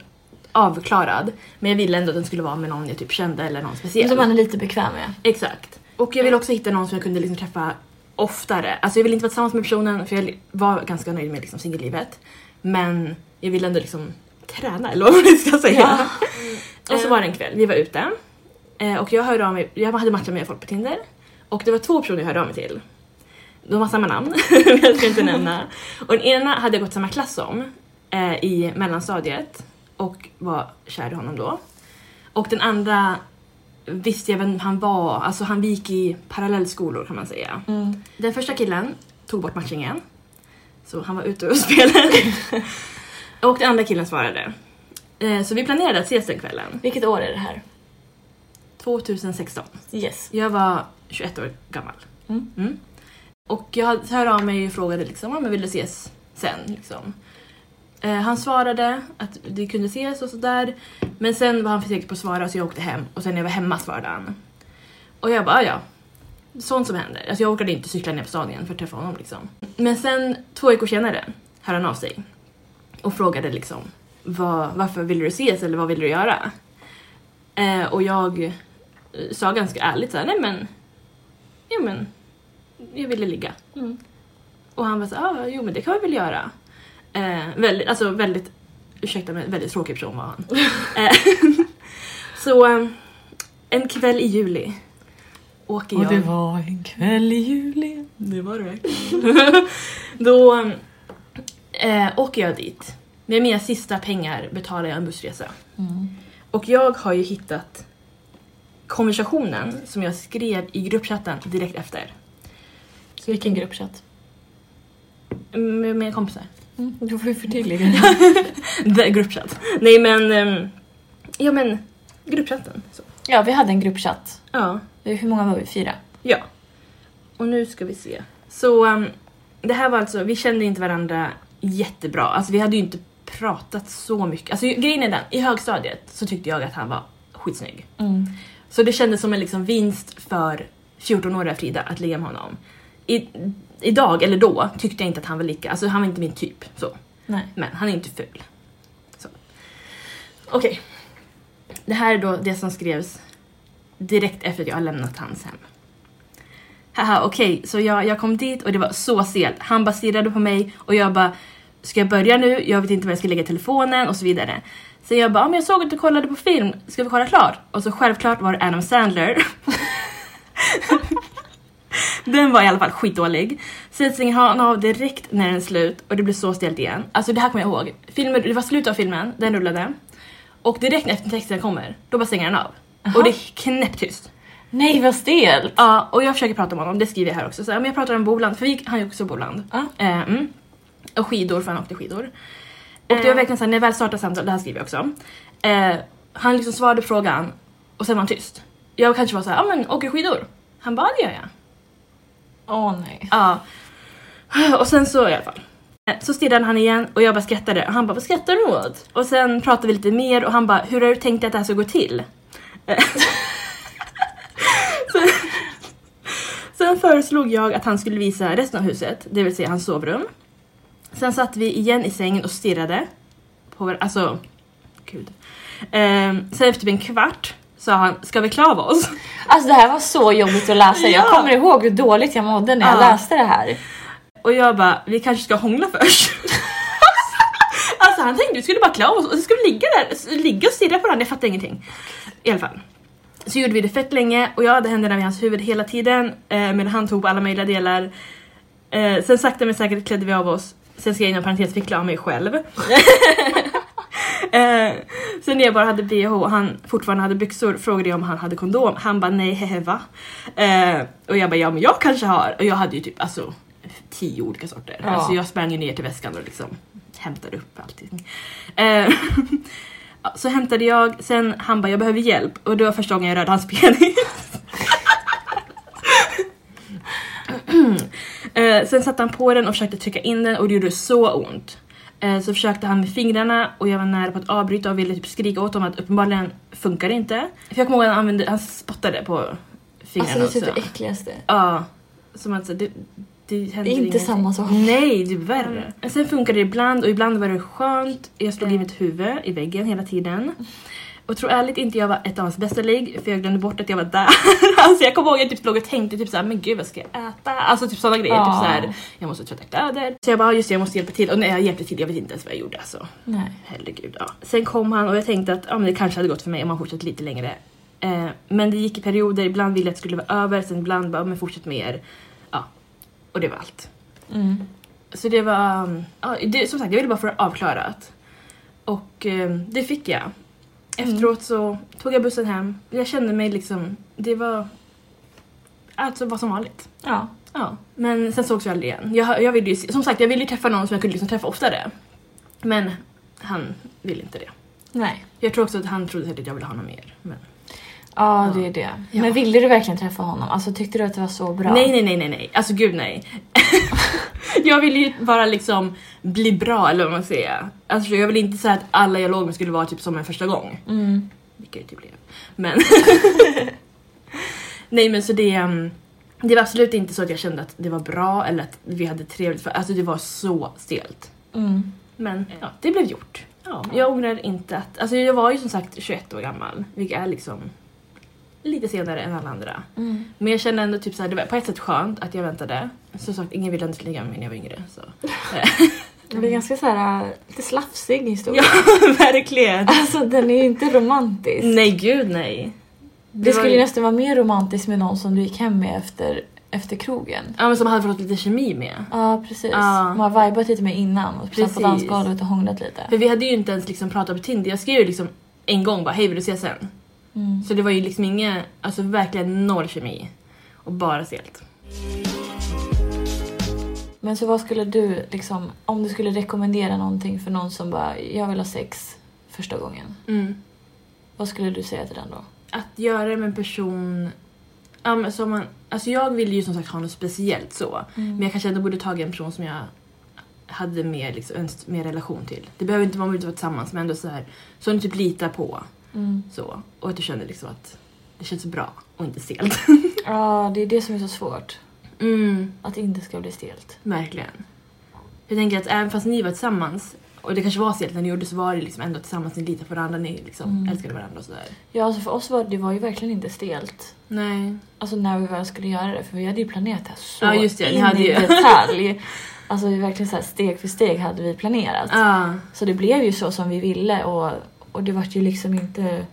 [SPEAKER 1] avklarad. Men jag ville ändå att den skulle vara med någon jag typ kände eller någon speciell.
[SPEAKER 2] Som man är lite bekväm med.
[SPEAKER 1] Exakt. Och jag ville också hitta någon som jag kunde liksom träffa oftare. Alltså jag ville inte vara tillsammans med personen för jag var ganska nöjd med liksom singellivet. Men jag ville ändå liksom träna eller vad man ska säga. Och så var det en kväll, vi var ute. Eh, Och jag hörde av mig, jag hade matchat med folk på Tinder. Och det var två personer jag hörde av mig till. De har samma namn, men jag ska inte nämna. Och den ena hade jag gått samma klass som eh, i mellanstadiet och var kär i honom då. Och den andra visste jag vem han var, alltså han gick i parallellskolor kan man säga.
[SPEAKER 2] Mm.
[SPEAKER 1] Den första killen tog bort matchningen, så han var ute och spelade. och den andra killen svarade. Eh, Så vi planerade att ses den kvällen,
[SPEAKER 2] Vilket år är det här?
[SPEAKER 1] 2016.
[SPEAKER 2] Yes.
[SPEAKER 1] Jag var 21 år gammal.
[SPEAKER 2] Mm.
[SPEAKER 1] Och jag hörde av mig och frågade liksom, "Ja, men vill du ses sen? Liksom. Eh, han svarade att det kunde ses och sådär. Men sen var han för seg på att svara så jag åkte hem och sen när jag var hemma svarade han. Och jag bara, "Ah, ja. Sånt som händer. Alltså jag orkade inte cykla ner på stan igen för att träffa honom liksom. Men sen två veckor senare hör han av sig och frågade liksom vad, varför ville du ses eller vad ville du göra? Eh, och jag eh, sa ganska ärligt såhär, nej men, ja men, jag ville ligga.
[SPEAKER 2] Mm.
[SPEAKER 1] Och han var så ah, jo men det kan vi väl göra. Eh, väldigt, alltså väldigt, ursäkta men väldigt tråkig person var han. eh, så eh, en kväll i juli åker
[SPEAKER 2] Och
[SPEAKER 1] jag.
[SPEAKER 2] det var en kväll i juli.
[SPEAKER 1] Det var det verkligen. Då eh, åker jag dit. Med mina sista pengar betalar jag en bussresa.
[SPEAKER 2] Mm.
[SPEAKER 1] Och jag har ju hittat konversationen som jag skrev i gruppchatten direkt efter.
[SPEAKER 2] Så vilken gruppchatt?
[SPEAKER 1] Med mina kompisar.
[SPEAKER 2] Mm. Du får ju förtydliga.
[SPEAKER 1] The gruppchatt. Nej men, ehm, ja men gruppchatten. Så.
[SPEAKER 2] ja, vi hade en gruppchatt. Eh,
[SPEAKER 1] Ja.
[SPEAKER 2] Hur många var vi? Fyra?
[SPEAKER 1] Ja. Och nu ska vi se. Så ehm, det här var alltså, vi kände inte varandra jättebra. Alltså vi hade ju inte pratat så mycket. Alltså grejen är den, i högstadiet så tyckte jag att han var skitsnygg.
[SPEAKER 2] Mm.
[SPEAKER 1] Så det kändes som en liksom vinst för 14-åriga Frida att ligga med honom. I, idag, eller då, tyckte jag inte att han var lika, alltså han var inte min typ. Så.
[SPEAKER 2] Nej.
[SPEAKER 1] Men han är inte ful. Så. Okej. Det här är då det som skrevs direkt efter att jag har lämnat hans hem. Haha, okej, så jag, jag kom dit och det var så sent. Han baserade på mig och jag bara, ska jag börja nu? Jag vet inte var jag ska lägga telefonen och så vidare. Sen jag bara, "Ja, men jag såg att du kollade på film, ska vi kolla klart? Och så självklart var det Adam Sandler. Den var i alla fall skitdålig. Sen stänger han av direkt när den är slut och det blir så stelt igen. Alltså det här kommer jag ihåg. Filmen, det var slutet av filmen, den rullade. Och direkt när eftertexten kommer, då bara stänger han av. Och det är knäpptyst.
[SPEAKER 2] Nej, vad stelt!
[SPEAKER 1] Ja, och jag försöker prata om honom, det skriver jag här också. Så, här, men jag pratar om Boland, för vi, han är ju också Boland.
[SPEAKER 2] Ja.
[SPEAKER 1] Eh, mm. Och skidor, för han åkte skidor. Och det var
[SPEAKER 2] Eh.
[SPEAKER 1] verkligen såhär, när jag väl startade samtalet, det här skriver jag också. Eh, han liksom svarade på frågan och sen var han tyst. Jag kanske var såhär, ja men åker du skidor? Han bara, "Ja, det gör jag.
[SPEAKER 2] Åh nej.
[SPEAKER 1] Ja. Och sen så i alla fall. Eh, Så stirrade han igen och jag bara skrattade och han bara vad skrattar du åt? Och sen pratade vi lite mer och han bara hur har du tänkt att det här ska gå till? Eh, sen, sen föreslog jag att han skulle visa resten av huset, det vill säga hans sovrum. Sen satt vi igen i sängen och stirrade. På, var- alltså, gud. Eh, sen efter en kvart sa han ska vi klava oss?
[SPEAKER 2] Alltså det här var så jobbigt att läsa. Jag
[SPEAKER 1] Ja.
[SPEAKER 2] kommer ihåg hur dåligt jag mådde när jag
[SPEAKER 1] Ja.
[SPEAKER 2] läste det här.
[SPEAKER 1] Och jag bara, vi kanske ska hångla först. alltså han tänkte vi skulle bara klä oss och så skulle vi ligga där, s- ligga och stirra på varandra, jag fattar ingenting. I alla fall. Så gjorde vi det fett länge och jag hade händerna vid hans huvud hela tiden eh, medan han tog på alla möjliga delar. Eh, sen sakta men säkert klädde vi av oss. Sen ska jag inom parentes fick klä av mig själv. eh, sen när jag bara hade bh och han fortfarande hade byxor frågade jag om han hade kondom. Han bara nej hehe va? Eh, och jag bara ja men jag kanske har. Och jag hade ju typ alltså tio olika sorter.
[SPEAKER 2] Ja.
[SPEAKER 1] Alltså jag sprang ju ner till väskan och liksom hämtade upp allting. Eh, ja, så hämtade jag, sen han bara jag behöver hjälp och det var första gången jag rörde hans penis. Eh, sen satte han på den och försökte trycka in den och det gjorde så ont. Eh, så försökte han med fingrarna och jag var nära på att avbryta och ville typ skrika åt honom att uppenbarligen funkar det inte. För jag kommer ihåg att han, använde, han spottade på
[SPEAKER 2] Alltså
[SPEAKER 1] fingrarna
[SPEAKER 2] det är typ
[SPEAKER 1] också.
[SPEAKER 2] det äckligaste.
[SPEAKER 1] Ja. Som att så, det, det händer
[SPEAKER 2] Det är inte
[SPEAKER 1] ingenting.
[SPEAKER 2] samma sak.
[SPEAKER 1] Nej, det är värre. Sen funkade det ibland och ibland var det skönt. Jag slog i mitt huvud i väggen hela tiden. Och tror ärligt inte jag var ett av hans bästa ligg för jag glömde bort att jag var där. Alltså jag kommer ihåg jag typ låg och tänkte typ såhär men gud vad ska jag äta? Alltså typ sådana grejer.
[SPEAKER 2] Ja.
[SPEAKER 1] Typ såhär jag måste tvätta kläder. Så jag bara just det, jag måste hjälpa till och när jag hjälpte till jag vet inte ens vad jag gjorde alltså.
[SPEAKER 2] Nej.
[SPEAKER 1] Herregud ja. Sen kom han och jag tänkte att ja, men det kanske hade gått för mig om han fortsatt lite längre. Eh, men det gick i perioder, ibland ville jag att det skulle vara över, sen ibland bara, ja, men fortsätt med er. Ja. Och det var allt.
[SPEAKER 2] Mm.
[SPEAKER 1] Så det var, um, ja, det, som sagt jag ville bara få det avklarat. Och eh, det fick jag. Efteråt så tog jag bussen hem, jag kände mig liksom, det var, alltså var som vanligt.
[SPEAKER 2] Ja.
[SPEAKER 1] Ja, men sen sågs vi aldrig igen. Jag, jag ville ju, som sagt, jag ville ju träffa någon som jag kunde liksom träffa oftare. Men han ville inte det.
[SPEAKER 2] Nej.
[SPEAKER 1] Jag tror också att han trodde säkert att jag ville ha någon mer. Men...
[SPEAKER 2] Ja,
[SPEAKER 1] Ja.
[SPEAKER 2] det är det.
[SPEAKER 1] Ja.
[SPEAKER 2] Men ville du verkligen träffa honom? Alltså tyckte du att det var så bra?
[SPEAKER 1] Nej, nej, nej, nej, nej. Alltså gud nej. Jag vill ju bara liksom bli bra eller vad man säger. Alltså jag vill inte säga att alla jag låg med skulle vara typ som en första gång.
[SPEAKER 3] Mm.
[SPEAKER 1] Vilket jag typ blev. Men... Nej men så det... ehm, Det var absolut inte så att jag kände att det var bra eller att vi hade trevligt. För, alltså det var så stelt.
[SPEAKER 3] Mm.
[SPEAKER 1] Men ja, det blev gjort. Ja, jag ångrar inte att... Alltså jag var ju som sagt 21 år gammal, vilket är liksom lite senare än alla andra.
[SPEAKER 3] Mm.
[SPEAKER 1] Men jag känner ändå typ såhär, det var på ett sätt skönt att jag väntade. Som sagt, ingen ville ändå ligga med mig när jag var yngre. Så.
[SPEAKER 2] Det blir ganska så här äh, lite slafsig historia.
[SPEAKER 1] ja, verkligen!
[SPEAKER 2] Alltså den är ju inte romantisk.
[SPEAKER 1] Nej, gud nej.
[SPEAKER 3] Det,
[SPEAKER 2] Det
[SPEAKER 3] var
[SPEAKER 2] skulle
[SPEAKER 3] ju-
[SPEAKER 2] ju nästan vara mer romantiskt med någon som du gick hem med efter, efter krogen.
[SPEAKER 1] Ja, men som hade fått lite kemi med.
[SPEAKER 2] Ja precis.
[SPEAKER 1] Ja.
[SPEAKER 2] Man har vibat lite med innan och satt
[SPEAKER 1] Precis.
[SPEAKER 2] på dansgolvet och hånglat lite.
[SPEAKER 1] För vi hade ju inte ens liksom pratat på Tinder. Jag skrev ju liksom en gång bara, hej vill du ses sen?
[SPEAKER 2] Mm.
[SPEAKER 1] Så det var ju liksom inget, alltså verkligen noll kemi. Och bara stelt.
[SPEAKER 2] Men så vad skulle du liksom, om du skulle rekommendera någonting för någon som bara jag vill ha sex första gången.
[SPEAKER 1] Mm.
[SPEAKER 2] Vad skulle du säga till den då?
[SPEAKER 1] att göra det med en person ja, men som man, alltså jag ville ju som sagt ha något speciellt så. Men jag kanske ändå borde tagit en person som jag hade mer, liksom, en st- mer relation till. Det behöver inte vara att vara tillsammans men ändå så här som du typ litar på.
[SPEAKER 2] Mm.
[SPEAKER 1] Så. Och att du känner liksom att det känns bra och inte stelt.
[SPEAKER 2] Ja det är det som är så svårt.
[SPEAKER 1] Mm,
[SPEAKER 2] Att det inte ska bli stelt.
[SPEAKER 1] verkligen. Jag tänker att även fast ni var tillsammans och det kanske var stelt när ni gjorde så var det liksom ändå tillsammans, ni litade på varandra, ni liksom
[SPEAKER 2] Mm.
[SPEAKER 1] älskade varandra och sådär.
[SPEAKER 2] Ja alltså för oss var det var ju verkligen inte stelt.
[SPEAKER 1] Nej.
[SPEAKER 2] Alltså när vi väl skulle göra det, för vi hade ju planerat det här så
[SPEAKER 1] Ja, just det, ni
[SPEAKER 2] in
[SPEAKER 1] hade
[SPEAKER 2] i
[SPEAKER 1] ju-
[SPEAKER 2] detalj. Alltså vi verkligen så här, steg för steg hade vi planerat.
[SPEAKER 1] Ah,
[SPEAKER 2] Så det blev ju så som vi ville och, och det vart ju liksom inte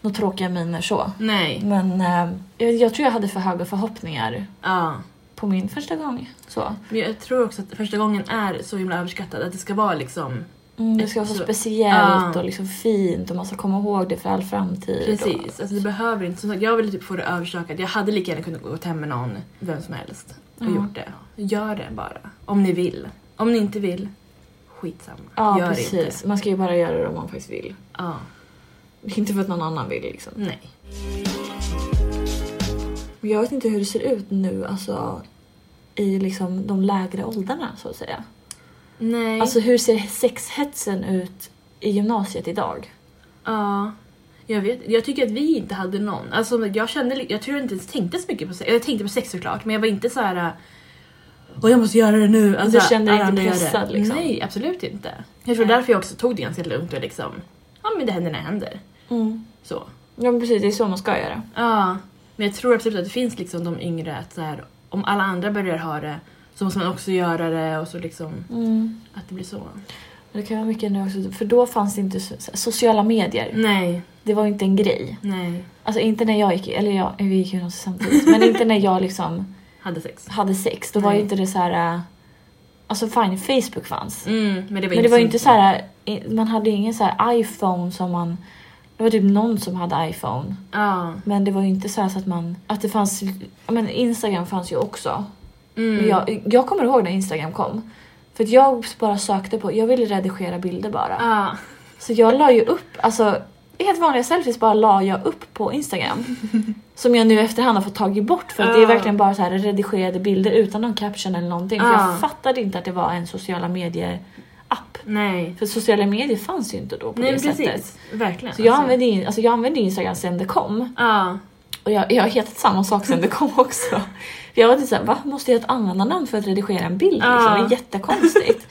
[SPEAKER 2] några tråkiga miner så.
[SPEAKER 1] nej.
[SPEAKER 2] Men eh, jag, jag tror jag hade för höga förhoppningar
[SPEAKER 1] Ah.
[SPEAKER 2] på min första gång. Så.
[SPEAKER 1] Men jag tror också att första gången är så himla överskattad. Att det ska vara liksom...
[SPEAKER 2] Mm, det ska vara så
[SPEAKER 1] Så- Ah.
[SPEAKER 2] speciellt
[SPEAKER 1] Ja.
[SPEAKER 2] och liksom fint och man ska komma ihåg det för all framtid. Och,
[SPEAKER 1] Precis. Alltså det behöver inte... Som sagt, jag ville typ få det överstökat. Jag hade lika gärna kunnat gå hem med någon, vem som helst, och
[SPEAKER 2] Ja.
[SPEAKER 1] gjort det. Gör det bara. Om ni vill. Om ni inte vill, skitsamma.
[SPEAKER 2] ja
[SPEAKER 1] Gör
[SPEAKER 2] precis.
[SPEAKER 1] inte.
[SPEAKER 2] Man ska ju bara göra det om man faktiskt vill.
[SPEAKER 1] Ja.
[SPEAKER 2] Inte för att någon annan vill liksom.
[SPEAKER 1] Nej.
[SPEAKER 2] Men Jag vet inte hur det ser ut nu, alltså i liksom de lägre åldrarna så att säga.
[SPEAKER 1] Nej.
[SPEAKER 2] Alltså hur ser sexhetsen ut i gymnasiet idag?
[SPEAKER 1] Ja. Jag vet Jag tycker att vi inte hade någon. Alltså jag kände... li- Jag tror jag inte ens tänkte så mycket på sex. Jag tänkte på sex såklart, men jag var inte så här. Och jag måste göra det nu. Alltså,
[SPEAKER 2] Du kände dig
[SPEAKER 1] alla
[SPEAKER 2] inte
[SPEAKER 1] andra gör det.
[SPEAKER 2] pressad, liksom?
[SPEAKER 1] Nej, absolut inte. Jag tror därför jag också tog det ganska lugnt och liksom, ja men det händer när det händer. Mm. Så.
[SPEAKER 2] Ja men precis, det är så man ska göra.
[SPEAKER 1] Ja. Men jag tror absolut att det finns liksom de yngre att så här, om alla andra börjar ha det så måste man också göra det och så liksom att det blir så.
[SPEAKER 2] Det kan vara mycket nu också, för då fanns det inte so- så- sociala medier.
[SPEAKER 1] Nej,
[SPEAKER 2] Det var ju inte en grej.
[SPEAKER 1] nej.
[SPEAKER 2] Alltså inte när jag gick, eller jag, vi gick ju någonstans samtidigt, men inte när jag liksom
[SPEAKER 1] Hade sex.
[SPEAKER 2] hade sex. Då var
[SPEAKER 1] Nej.
[SPEAKER 2] ju inte det så här. äh, Alltså fine, Facebook fanns.
[SPEAKER 1] Mm, men det var
[SPEAKER 2] Men
[SPEAKER 1] inte
[SPEAKER 2] det var
[SPEAKER 1] så
[SPEAKER 2] ju inte så här, i- man hade ju ingen så här iPhone som man... Det var typ någon som hade iPhone.
[SPEAKER 1] Ja.
[SPEAKER 2] Men det var ju inte så, här så att man... Att det fanns... ja, Men Instagram fanns ju också.
[SPEAKER 1] Mm.
[SPEAKER 2] Men jag, jag kommer ihåg när Instagram kom. För att jag bara sökte på... Jag ville redigera bilder bara.
[SPEAKER 1] Ja.
[SPEAKER 2] Så jag la ju upp... Alltså, helt vanliga selfies bara la jag upp på Instagram. som jag nu efterhand har fått tag i bort för att det är
[SPEAKER 1] Ja.
[SPEAKER 2] verkligen bara så här redigerade bilder utan någon caption eller någonting. För
[SPEAKER 1] Ja.
[SPEAKER 2] jag fattade inte att det var en sociala medier-app.
[SPEAKER 1] Nej.
[SPEAKER 2] För sociala medier fanns ju inte då på
[SPEAKER 1] Nej
[SPEAKER 2] det
[SPEAKER 1] men
[SPEAKER 2] sättet.
[SPEAKER 1] precis. Verkligen.
[SPEAKER 2] Så jag
[SPEAKER 1] alltså.
[SPEAKER 2] använde, ju- alltså jag använde ju Instagram sen det kom.
[SPEAKER 1] Ja.
[SPEAKER 2] Och jag, jag har hetat samma sak sen det kom också. För jag var lite såhär, va? Måste jag ha ett användarnamn för att redigera en bild?
[SPEAKER 1] Ja.
[SPEAKER 2] Liksom? Det är jättekonstigt.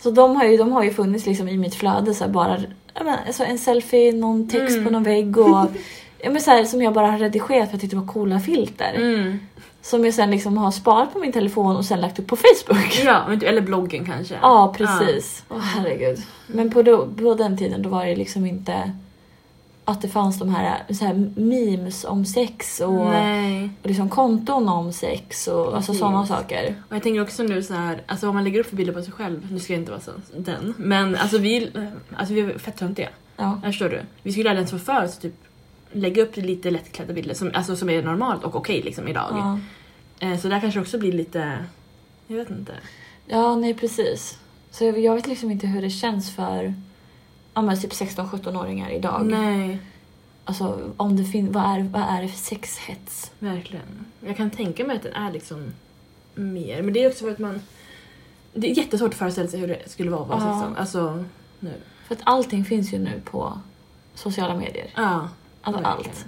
[SPEAKER 2] så de har ju, de har ju funnits liksom i mitt flöde så här, bara ja, men, alltså en selfie, någon text
[SPEAKER 1] Mm.
[SPEAKER 2] på någon vägg och ja, men, så här, som jag bara har redigerat för att jag tyckte det var coola filter.
[SPEAKER 1] Mm.
[SPEAKER 2] Som jag sen liksom har sparat på min telefon och sen lagt upp på Facebook.
[SPEAKER 1] Ja, men- typ, eller bloggen kanske.
[SPEAKER 2] Ja, precis. Åh herregud. Men på, då, på den tiden då var det liksom inte att det fanns de här, så här memes om sex och,
[SPEAKER 1] Nej.
[SPEAKER 2] och liksom konton om sex och alltså
[SPEAKER 1] Precis.
[SPEAKER 2] sådana saker.
[SPEAKER 1] Och jag tänker också nu så här, alltså vad man lägger upp för bilder på sig själv, nu ska jag inte vara så, den, men alltså vi, alltså vi är fett töntiga.
[SPEAKER 2] Ja.
[SPEAKER 1] Förstår du? Vi skulle aldrig ens få för oss att typ lägga upp lite lättklädda bilder som, alltså, som är normalt och okej liksom idag.
[SPEAKER 2] Ja.
[SPEAKER 1] Eh, så där kanske också blir lite, jag vet inte.
[SPEAKER 2] ja, nej precis. Så jag, jag vet liksom inte hur det känns för ja, men typ 16-17-åringar idag.
[SPEAKER 1] Nej,
[SPEAKER 2] Alltså om det fin- vad, är, vad är det för sexhets?
[SPEAKER 1] verkligen. Jag kan tänka mig att den är liksom mer, men det är också för att man Det är jättesvårt att föreställa sig hur det skulle vara att vara
[SPEAKER 2] Ja.
[SPEAKER 1] sexsam. Alltså nu.
[SPEAKER 2] För att allting finns ju nu på sociala medier.
[SPEAKER 1] Ja.
[SPEAKER 2] Alltså
[SPEAKER 1] verkligen.
[SPEAKER 2] allt.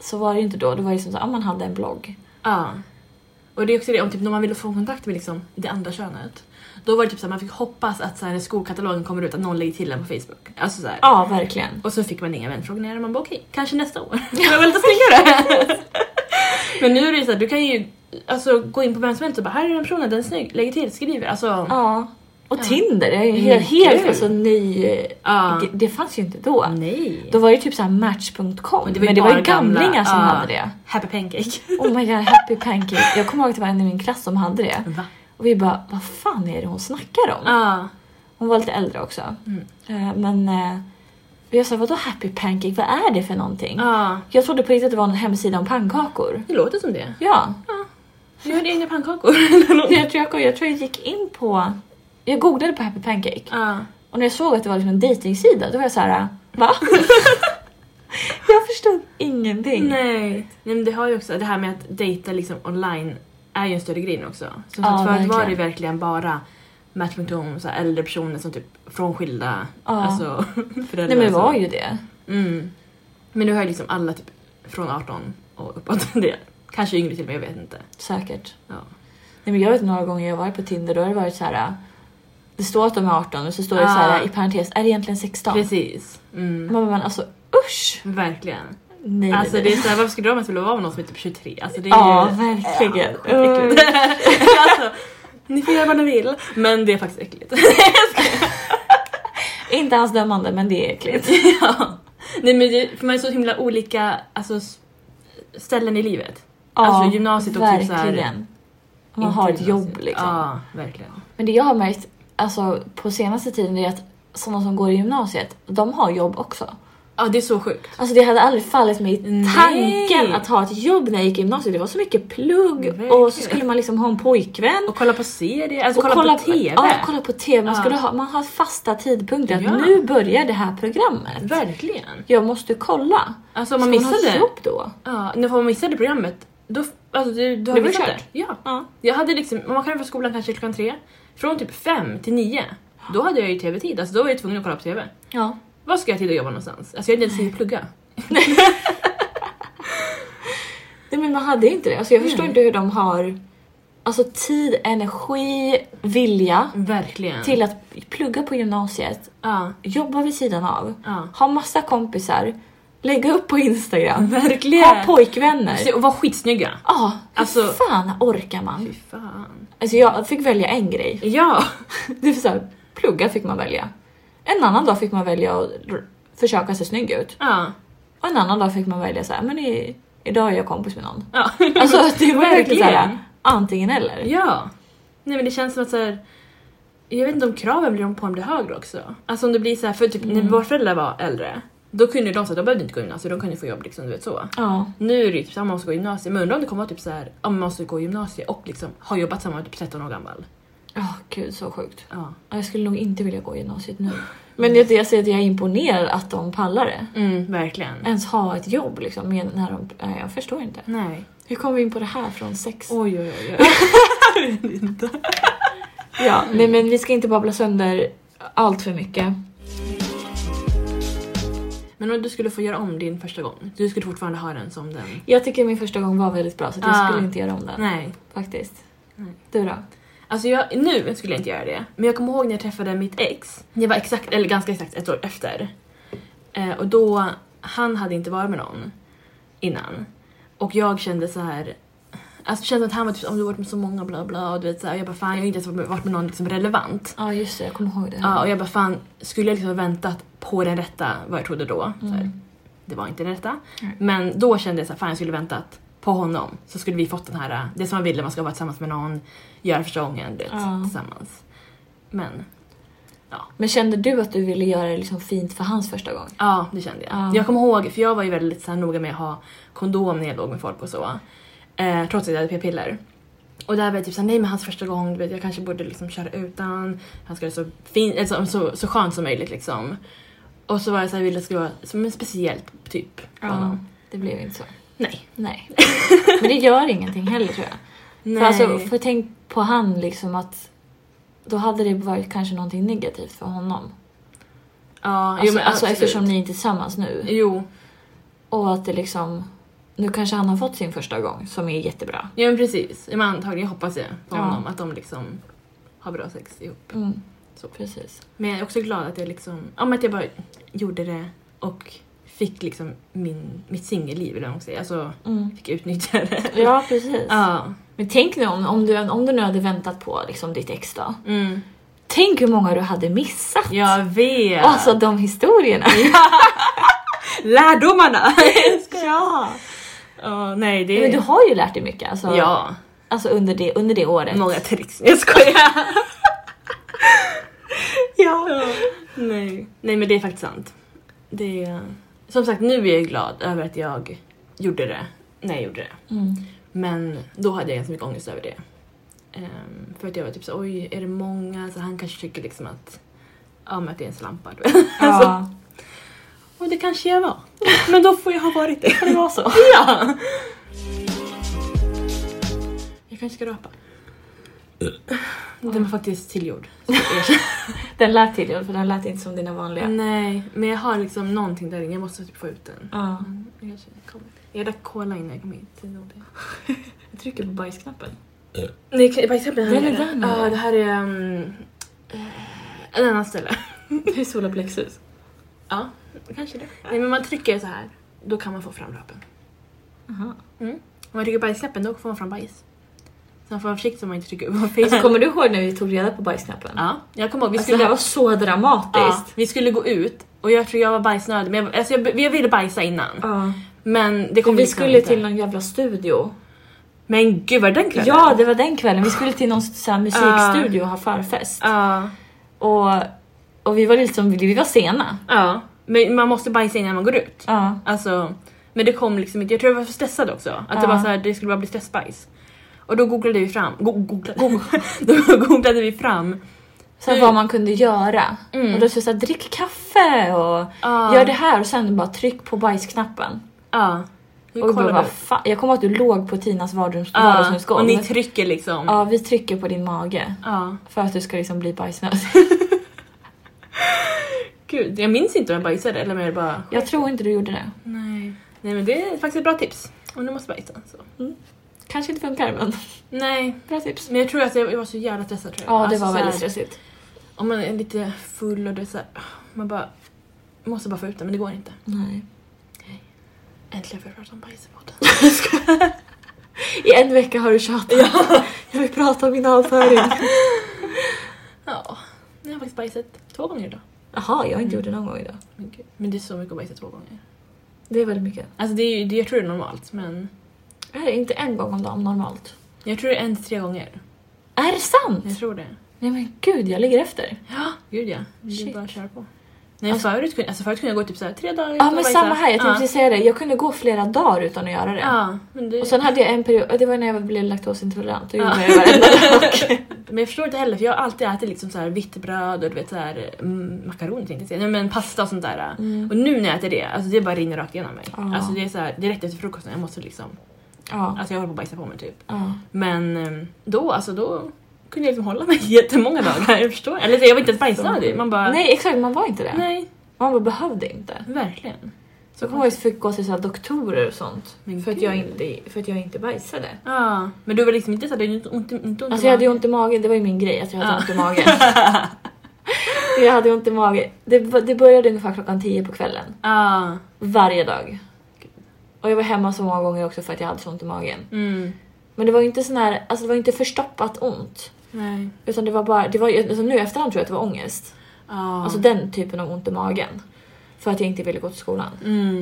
[SPEAKER 2] Så var det ju inte då. Det var ju som så att man hade en blogg.
[SPEAKER 1] Ja. Och det är också det, om typ, när man ville få kontakt med liksom, det andra könet. Då var det typ såhär, man fick hoppas att såhär, när skolkatalogen kommer ut att någon lägger till den på Facebook. Alltså såhär.
[SPEAKER 2] Ja, verkligen.
[SPEAKER 1] Och så fick man inga vänförfrågningar och man bara okej, kanske nästa år. Det var lite snyggare. Men nu är det ju såhär, du kan ju alltså, gå in på vem som helst och bara här är den personen, den är snygg, lägger till, skriver. Alltså,
[SPEAKER 2] Ja. Och
[SPEAKER 1] Ja.
[SPEAKER 2] Tinder är ju
[SPEAKER 1] Men
[SPEAKER 2] helt,
[SPEAKER 1] gud.
[SPEAKER 2] helt alltså, ny...
[SPEAKER 1] ja.
[SPEAKER 2] g- Det fanns ju inte då.
[SPEAKER 1] Nej.
[SPEAKER 2] Då var det ju typ såhär match.com.
[SPEAKER 1] Men
[SPEAKER 2] Men
[SPEAKER 1] det
[SPEAKER 2] det
[SPEAKER 1] var ju
[SPEAKER 2] var ju,
[SPEAKER 1] bara gamla,
[SPEAKER 2] gamlingar som
[SPEAKER 1] ja.
[SPEAKER 2] hade det.
[SPEAKER 1] Happy pancake.
[SPEAKER 2] Oh my god, happy pancake. Jag kommer ihåg att det var en i min klass som hade det.
[SPEAKER 1] Va?
[SPEAKER 2] Och vi bara, vad fan är det hon snackar om?
[SPEAKER 1] Ja.
[SPEAKER 2] Hon var lite äldre också.
[SPEAKER 1] Mm.
[SPEAKER 2] Eh, Men eh, jag sa, vadå happy pancake? Vad är det för någonting?
[SPEAKER 1] ja.
[SPEAKER 2] Jag trodde på riktigt att det var en hemsida om pannkakor.
[SPEAKER 1] Det låter som det.
[SPEAKER 2] Ja.
[SPEAKER 1] Jag hade egna pannkakor.
[SPEAKER 2] Jag tror jag, jag tror jag gick in på... Jag googlade på happy pancake.
[SPEAKER 1] ja.
[SPEAKER 2] Och när jag såg att det var liksom en dejtingsida då var jag så här, va? jag förstod ingenting.
[SPEAKER 1] Nej. Nej men det har ju också det här med att dejta liksom online är ju en större grej nu också. Som
[SPEAKER 2] Ja,
[SPEAKER 1] sagt, förut var det ju
[SPEAKER 2] verkligen.
[SPEAKER 1] verkligen bara Match.com, så här äldre personer som typ frånskilda
[SPEAKER 2] Ja.
[SPEAKER 1] alltså, föräldrar.
[SPEAKER 2] Nej men det
[SPEAKER 1] som-
[SPEAKER 2] var ju det.
[SPEAKER 1] Mm. Men nu har ju liksom alla typ från 18 och uppåt det. Kanske yngre till och med, jag vet inte.
[SPEAKER 2] Säkert.
[SPEAKER 1] Ja.
[SPEAKER 2] Nej, men jag vet några gånger jag varit på Tinder då har det varit så här. äh, Det står att de är 18 och så står det
[SPEAKER 1] Ah.
[SPEAKER 2] så här i parentes, är det egentligen 16?
[SPEAKER 1] Precis. Mm.
[SPEAKER 2] Man bara, men alltså usch!
[SPEAKER 1] Verkligen.
[SPEAKER 2] Nej,
[SPEAKER 1] Alltså
[SPEAKER 2] nej,
[SPEAKER 1] det
[SPEAKER 2] nej.
[SPEAKER 1] är såhär, varför skulle de ens vilja vara med någon som är typ 23? Alltså det är
[SPEAKER 2] Ja,
[SPEAKER 1] ju...
[SPEAKER 2] verkligen. Mm.
[SPEAKER 1] skitäckligt. alltså, ni får göra vad ni vill, men det är faktiskt äckligt.
[SPEAKER 2] Inte alls dömande men det är äckligt.
[SPEAKER 1] ja. Nej men det, för man är så himla olika alltså, s- ställen i livet.
[SPEAKER 2] Ja,
[SPEAKER 1] Alltså, gymnasiet och typ så här-
[SPEAKER 2] verkligen. Man har ett
[SPEAKER 1] Inte
[SPEAKER 2] jobb
[SPEAKER 1] gymnasiet.
[SPEAKER 2] liksom.
[SPEAKER 1] Ja, verkligen.
[SPEAKER 2] Men det jag har märkt alltså, på senaste tiden är att sådana som går i gymnasiet, de har jobb också.
[SPEAKER 1] Ja, det är så sjukt.
[SPEAKER 2] Alltså det hade aldrig fallit mig i
[SPEAKER 1] Nej.
[SPEAKER 2] tanken att ha ett jobb när jag gick i gymnasiet. Det var så mycket plugg och så
[SPEAKER 1] Verkligen.
[SPEAKER 2] skulle man liksom ha en pojkvän.
[SPEAKER 1] Och kolla på serier, alltså
[SPEAKER 2] och
[SPEAKER 1] kolla, på TV.
[SPEAKER 2] Ja, kolla på TV. Man,
[SPEAKER 1] Ja.
[SPEAKER 2] skulle ha, man har fasta tidpunkter att
[SPEAKER 1] Ja.
[SPEAKER 2] nu börjar det här programmet.
[SPEAKER 1] Verkligen.
[SPEAKER 2] Jag måste kolla.
[SPEAKER 1] Alltså om man
[SPEAKER 2] Ska man ha
[SPEAKER 1] missade,
[SPEAKER 2] jobb då?
[SPEAKER 1] ja, när man missade programmet, då, alltså, du, du har
[SPEAKER 2] Det var
[SPEAKER 1] missat
[SPEAKER 2] kört.
[SPEAKER 1] det. Ja.
[SPEAKER 2] Ja.
[SPEAKER 1] Jag hade liksom, man kan vara på skolan kanske klockan tre. Från typ fem till nio, då hade jag ju TV-tid. Alltså då var jag tvungen att kolla på TV.
[SPEAKER 2] ja.
[SPEAKER 1] Vad ska jag till att jobba någonstans? Alltså jag hade inte ens tid att plugga.
[SPEAKER 2] Nej men man hade inte det. Alltså, jag förstår inte hur de har alltså, tid, energi, vilja
[SPEAKER 1] Verkligen.
[SPEAKER 2] till att plugga på gymnasiet,
[SPEAKER 1] Ja,
[SPEAKER 2] jobba vid sidan av,
[SPEAKER 1] ja.
[SPEAKER 2] ha massa kompisar, lägga upp på Instagram,
[SPEAKER 1] Verkligen.
[SPEAKER 2] ha pojkvänner.
[SPEAKER 1] Se, Och vara skitsnygga.
[SPEAKER 2] Ja, ah, hur
[SPEAKER 1] Mm. Alltså-
[SPEAKER 2] fan orkar
[SPEAKER 1] Fy
[SPEAKER 2] man?
[SPEAKER 1] fan.
[SPEAKER 2] Alltså jag fick välja en grej.
[SPEAKER 1] Ja.
[SPEAKER 2] Det var så här, plugga fick man välja. En annan dag fick man välja att r- försöka se snygg ut.
[SPEAKER 1] Ja.
[SPEAKER 2] Och en annan dag fick man välja så här, men i, idag är jag kompis med någon.
[SPEAKER 1] ja.
[SPEAKER 2] Alltså det var verkligen så
[SPEAKER 1] Verkligen.
[SPEAKER 2] här, antingen eller.
[SPEAKER 1] Ja. Nej men det känns som att så här, jag vet inte om kraven blir på en blir högre också. Alltså om det blir så här, för typ
[SPEAKER 2] Mm.
[SPEAKER 1] när våra föräldrar var äldre, då kunde de så här, de behövde inte gå gymnasiet, de kunde få jobb liksom, du vet så.
[SPEAKER 2] Ja.
[SPEAKER 1] Nu är det ju typ så här, man måste gå gymnasiet, men undrar om det kommer vara typ så här, ja, man måste gå gymnasiet och liksom ha jobbat samma typ 13 år gammal.
[SPEAKER 2] Ja, gud så sjukt.
[SPEAKER 1] Ja.
[SPEAKER 2] Ja, Jag skulle nog inte vilja gå gymnasiet nu. Men det, jag säger att jag är imponerad att de pallar det.
[SPEAKER 1] Mm, verkligen.
[SPEAKER 2] Ens ha ett jobb liksom. Med, när de, nej, jag förstår inte.
[SPEAKER 1] Nej.
[SPEAKER 2] Hur kom vi in på det här från sex?
[SPEAKER 1] Oj oj oj. oj.
[SPEAKER 2] Ja, nej, men vi ska inte babbla sönder allt för mycket.
[SPEAKER 1] men om du skulle få göra om din första gång, du skulle fortfarande ha den som den?
[SPEAKER 2] Jag tycker min första gång var väldigt bra så att jag
[SPEAKER 1] Ah.
[SPEAKER 2] skulle inte göra om den.
[SPEAKER 1] Nej.
[SPEAKER 2] Faktiskt.
[SPEAKER 1] Nej.
[SPEAKER 2] Du då?
[SPEAKER 1] Alltså jag, nu skulle jag inte göra det, men jag kommer ihåg när jag träffade mitt ex. Det var exakt, eller ganska exakt ett år efter. Eh, och då, han hade inte varit med någon innan. Och jag kände så här. Alltså det kändes som att han var typ om du har varit med så många bla bla och du vet så här, och jag bara fan jag har inte ens varit med- varit med någon liksom relevant.
[SPEAKER 2] Ja just det, jag kommer ihåg det.
[SPEAKER 1] Ja, och jag bara fan skulle jag liksom ha väntat på den rätta vad jag trodde då. Så
[SPEAKER 2] Mm.
[SPEAKER 1] här, det var inte den rätta.
[SPEAKER 2] Nej.
[SPEAKER 1] Men då kände jag så här, fan jag skulle väntat på honom så skulle vi fått den här, äh, det som man ville, man ska vara tillsammans med någon, göra första gången du vet,
[SPEAKER 2] Ja.
[SPEAKER 1] tillsammans. Men
[SPEAKER 2] Men kände du att du ville göra det liksom fint för hans första gång?
[SPEAKER 1] ja, det kände jag.
[SPEAKER 2] Ja.
[SPEAKER 1] Jag kommer ihåg, för jag var ju väldigt så här, noga med att ha kondom när jag låg med folk och så. Eh, trots att jag hade p-piller. Och där var jag typ såhär, nej men hans första gång, du vet, jag kanske borde liksom köra utan. Han ska ha det så, fin, eller så, så, så skönt som möjligt liksom. Och så var jag såhär, ville att det skulle vara som en speciell typ. för honom.
[SPEAKER 2] Det blev inte så.
[SPEAKER 1] Nej.
[SPEAKER 2] Nej. Men det gör ingenting heller tror jag.
[SPEAKER 1] nej.
[SPEAKER 2] För, alltså, för tänk på han liksom att Då hade det varit kanske någonting negativt för honom.
[SPEAKER 1] Ja,
[SPEAKER 2] Alltså,
[SPEAKER 1] jo, men
[SPEAKER 2] alltså
[SPEAKER 1] absolut.
[SPEAKER 2] eftersom ni inte är tillsammans nu.
[SPEAKER 1] Jo,
[SPEAKER 2] Och att det liksom... Nu kanske han har fått sin första gång som är jättebra.
[SPEAKER 1] ja, men precis. Ja, men antagligen hoppas jag på
[SPEAKER 2] Ja.
[SPEAKER 1] honom att de liksom har bra sex ihop.
[SPEAKER 2] Mm.
[SPEAKER 1] Så.
[SPEAKER 2] Precis.
[SPEAKER 1] Men jag är också glad att jag liksom, ja, men att jag bara gjorde det och fick liksom min, mitt singelliv eller vad man säger. Alltså
[SPEAKER 2] Mm.
[SPEAKER 1] fick utnyttja det.
[SPEAKER 2] Ja, precis.
[SPEAKER 1] Ja.
[SPEAKER 2] Men tänk nu om, om, du, om du nu hade väntat på liksom, ditt ex då.
[SPEAKER 1] Mm.
[SPEAKER 2] Tänk hur många du hade missat!
[SPEAKER 1] Jag vet!
[SPEAKER 2] Alltså de historierna!
[SPEAKER 1] lärdomarna!
[SPEAKER 2] Ja!
[SPEAKER 1] Ja, nej det
[SPEAKER 2] Men du har ju lärt dig mycket alltså,
[SPEAKER 1] Ja,
[SPEAKER 2] alltså under, det, under det året.
[SPEAKER 1] många tricks. Jag skojar!
[SPEAKER 2] Ja.
[SPEAKER 1] nej. nej men det är faktiskt sant. Det är... Som sagt nu är jag glad över att jag gjorde det när jag gjorde det.
[SPEAKER 2] Mm.
[SPEAKER 1] Men då hade jag ganska mycket ångest över det. Ehm, för att jag var typ så oj är det många? Så han kanske tycker liksom att ja men att det är en slampa. du vet.
[SPEAKER 2] ja.
[SPEAKER 1] Och det kanske jag var. Men då får jag ha varit det.
[SPEAKER 2] Det var så.
[SPEAKER 1] Ja! Jag kanske ska rapa. Mm. Den var faktiskt tillgjord.
[SPEAKER 2] Den lät till dig, för den lät inte som dina vanliga.
[SPEAKER 1] Mm. Nej, men jag har liksom någonting där inne. Jag måste typ få ut den.
[SPEAKER 2] Ja.
[SPEAKER 1] Jag kanske kommer. Jag drack cola innan jag kom hit. Det är nog det.
[SPEAKER 2] Jag trycker på bajsknappen.
[SPEAKER 1] Nej, kan- bajsknappen
[SPEAKER 2] Den är
[SPEAKER 1] här
[SPEAKER 2] där nu.
[SPEAKER 1] Ja, det här är... Um, eh, en annan ställe.
[SPEAKER 2] Det är solaplexus.
[SPEAKER 1] Ja, kanske det. Nej, men man trycker så här. Då kan man få fram rapen.
[SPEAKER 2] Aha.
[SPEAKER 1] Om man trycker bajsknappen då får man fram bajs. Så man får vara försiktig så man inte trycker upp på Facebook.
[SPEAKER 2] Alltså, kommer du ihåg när vi tog reda på bajsknappen?
[SPEAKER 1] Ja, jag kommer ihåg. Vi
[SPEAKER 2] Alltså, det
[SPEAKER 1] skulle
[SPEAKER 2] där var så
[SPEAKER 1] Ja,
[SPEAKER 2] dramatiskt.
[SPEAKER 1] vi skulle gå ut och jag tror jag var bajsnödig. Men jag, alltså jag, jag ville bajsa innan.
[SPEAKER 2] Ja.
[SPEAKER 1] Men det
[SPEAKER 2] För
[SPEAKER 1] kom
[SPEAKER 2] vi
[SPEAKER 1] liksom
[SPEAKER 2] skulle
[SPEAKER 1] inte.
[SPEAKER 2] till någon jävla studio.
[SPEAKER 1] Men gud var det den kvällen?
[SPEAKER 2] Ja, det var den kvällen. Vi skulle till någon så här, musikstudio och ha förfest.
[SPEAKER 1] Ja.
[SPEAKER 2] Och, och vi var liksom, vi var sena.
[SPEAKER 1] Ja. Men man måste bajsa innan man går ut.
[SPEAKER 2] Ja.
[SPEAKER 1] Alltså, men det kom liksom inte. Jag tror jag var för stressad också. Att det
[SPEAKER 2] Ja.
[SPEAKER 1] var så här, det skulle bara bli stressbajs. Och då googlade vi fram, go, googla, go, då googlade vi fram.
[SPEAKER 2] Så här,
[SPEAKER 1] Mm.
[SPEAKER 2] vad man kunde göra.
[SPEAKER 1] Mm.
[SPEAKER 2] Och då stod det såhär, drick kaffe och
[SPEAKER 1] Ja.
[SPEAKER 2] gör det här och sen bara tryck på bajsknappen.
[SPEAKER 1] Ja.
[SPEAKER 2] Och vi bara,
[SPEAKER 1] kollade
[SPEAKER 2] vad fan? Jag kommer ihåg att du låg på Tinas vardrums-
[SPEAKER 1] Ja.
[SPEAKER 2] vardagsrumsgolv.
[SPEAKER 1] Och ni trycker liksom.
[SPEAKER 2] ja, vi trycker på din mage.
[SPEAKER 1] ja.
[SPEAKER 2] För att du ska liksom bli bajsnödig.
[SPEAKER 1] Gud, jag minns inte om jag bajsade eller om jag bara...
[SPEAKER 2] Jag tror inte du gjorde det.
[SPEAKER 1] Nej. Nej men det är faktiskt ett bra tips. Om du måste bajsa så.
[SPEAKER 2] Kanske inte funkar men
[SPEAKER 1] Nej,
[SPEAKER 2] bra tips.
[SPEAKER 1] men jag tror att jag jag var så jävla stressad tror jag.
[SPEAKER 2] Ja, det
[SPEAKER 1] Alltså,
[SPEAKER 2] var
[SPEAKER 1] så
[SPEAKER 2] väldigt
[SPEAKER 1] här,
[SPEAKER 2] stressigt.
[SPEAKER 1] Om man är lite full och det är så här, ah, man bara måste bara få ut det, men det går inte.
[SPEAKER 2] Nej.
[SPEAKER 1] Äntligen får jag prata om bajs i podden.
[SPEAKER 2] I en vecka har du tjatat. Jag vill prata om min avföring.
[SPEAKER 1] Ja, jag har faktiskt bajsat två gånger idag.
[SPEAKER 2] Jaha, jag har inte gjort det någon gång idag.
[SPEAKER 1] Men, gud. men det är så mycket att bajsa två gånger.
[SPEAKER 2] Det är väldigt mycket.
[SPEAKER 1] Alltså det är ju, det, jag tror det är normalt, men
[SPEAKER 2] Det här är inte en gång om dagen normalt.
[SPEAKER 1] jag tror det är en till tre gånger.
[SPEAKER 2] Är det sant?
[SPEAKER 1] Jag tror det.
[SPEAKER 2] Nej men gud, jag ligger efter.
[SPEAKER 1] Ja, gud ja. Det
[SPEAKER 2] Shit.
[SPEAKER 1] är bara att köra på. Nej,
[SPEAKER 2] Alltså-
[SPEAKER 1] förut, kunde, alltså förut kunde jag gå typ så här, tre dagar utan
[SPEAKER 2] Ja
[SPEAKER 1] att
[SPEAKER 2] men
[SPEAKER 1] bajsa.
[SPEAKER 2] samma här, jag tänkte
[SPEAKER 1] ja.
[SPEAKER 2] precis säga det. Jag kunde gå flera dagar utan att göra det.
[SPEAKER 1] Ja, men, det,
[SPEAKER 2] Och sen hade jag en period, det var när jag blev laktosintolerant. Då gjorde
[SPEAKER 1] Ja.
[SPEAKER 2] jag det varenda dag.
[SPEAKER 1] men jag förstår inte heller för jag har alltid ätit liksom så här vitt bröd och du vet så här, mm, makaroner tänkte jag säga, Nej, men pasta och sånt där. Och nu när jag äter det, alltså det bara rinner rakt igenom mig.
[SPEAKER 2] Mm. Ja.
[SPEAKER 1] Alltså det är så här, direkt efter frukosten, jag måste liksom,
[SPEAKER 2] Ja.
[SPEAKER 1] alltså jag håller på att bajsa på mig typ.
[SPEAKER 2] ja.
[SPEAKER 1] Men eh, då, alltså då kunde jag liksom hålla mig jättemånga dagar, jag förstår. Eller så, jag var inte ens bajsnödig, man bara
[SPEAKER 2] Nej exakt, man var inte det.
[SPEAKER 1] nej,
[SPEAKER 2] Man bara behövde inte.
[SPEAKER 1] verkligen.
[SPEAKER 2] Så jag kommer ihåg att jag fick gå till så här doktorer och sånt.
[SPEAKER 1] Men
[SPEAKER 2] För att,
[SPEAKER 1] gud.
[SPEAKER 2] jag inte, för att jag inte bajsade.
[SPEAKER 1] Ja, men du var liksom inte så här, du hade inte ont, inte ont i
[SPEAKER 2] Alltså jag hade ju
[SPEAKER 1] magen.
[SPEAKER 2] ont i magen, det var ju min grej att jag hade ont i magen. Så jag hade ont i magen. Det, det började ungefär klockan 10 på kvällen.
[SPEAKER 1] Ja,
[SPEAKER 2] Varje dag. Och jag var hemma så många gånger också för att jag hade så ont i magen.
[SPEAKER 1] mm,
[SPEAKER 2] Men det var ju inte sån här, alltså det var ju inte förstoppat ont.
[SPEAKER 1] nej.
[SPEAKER 2] Utan det var bara, det var, ju- alltså nu i efterhand tror jag att det var ångest.
[SPEAKER 1] Ja.
[SPEAKER 2] Alltså den typen av ont i magen. För att jag inte ville gå till skolan.
[SPEAKER 1] mm.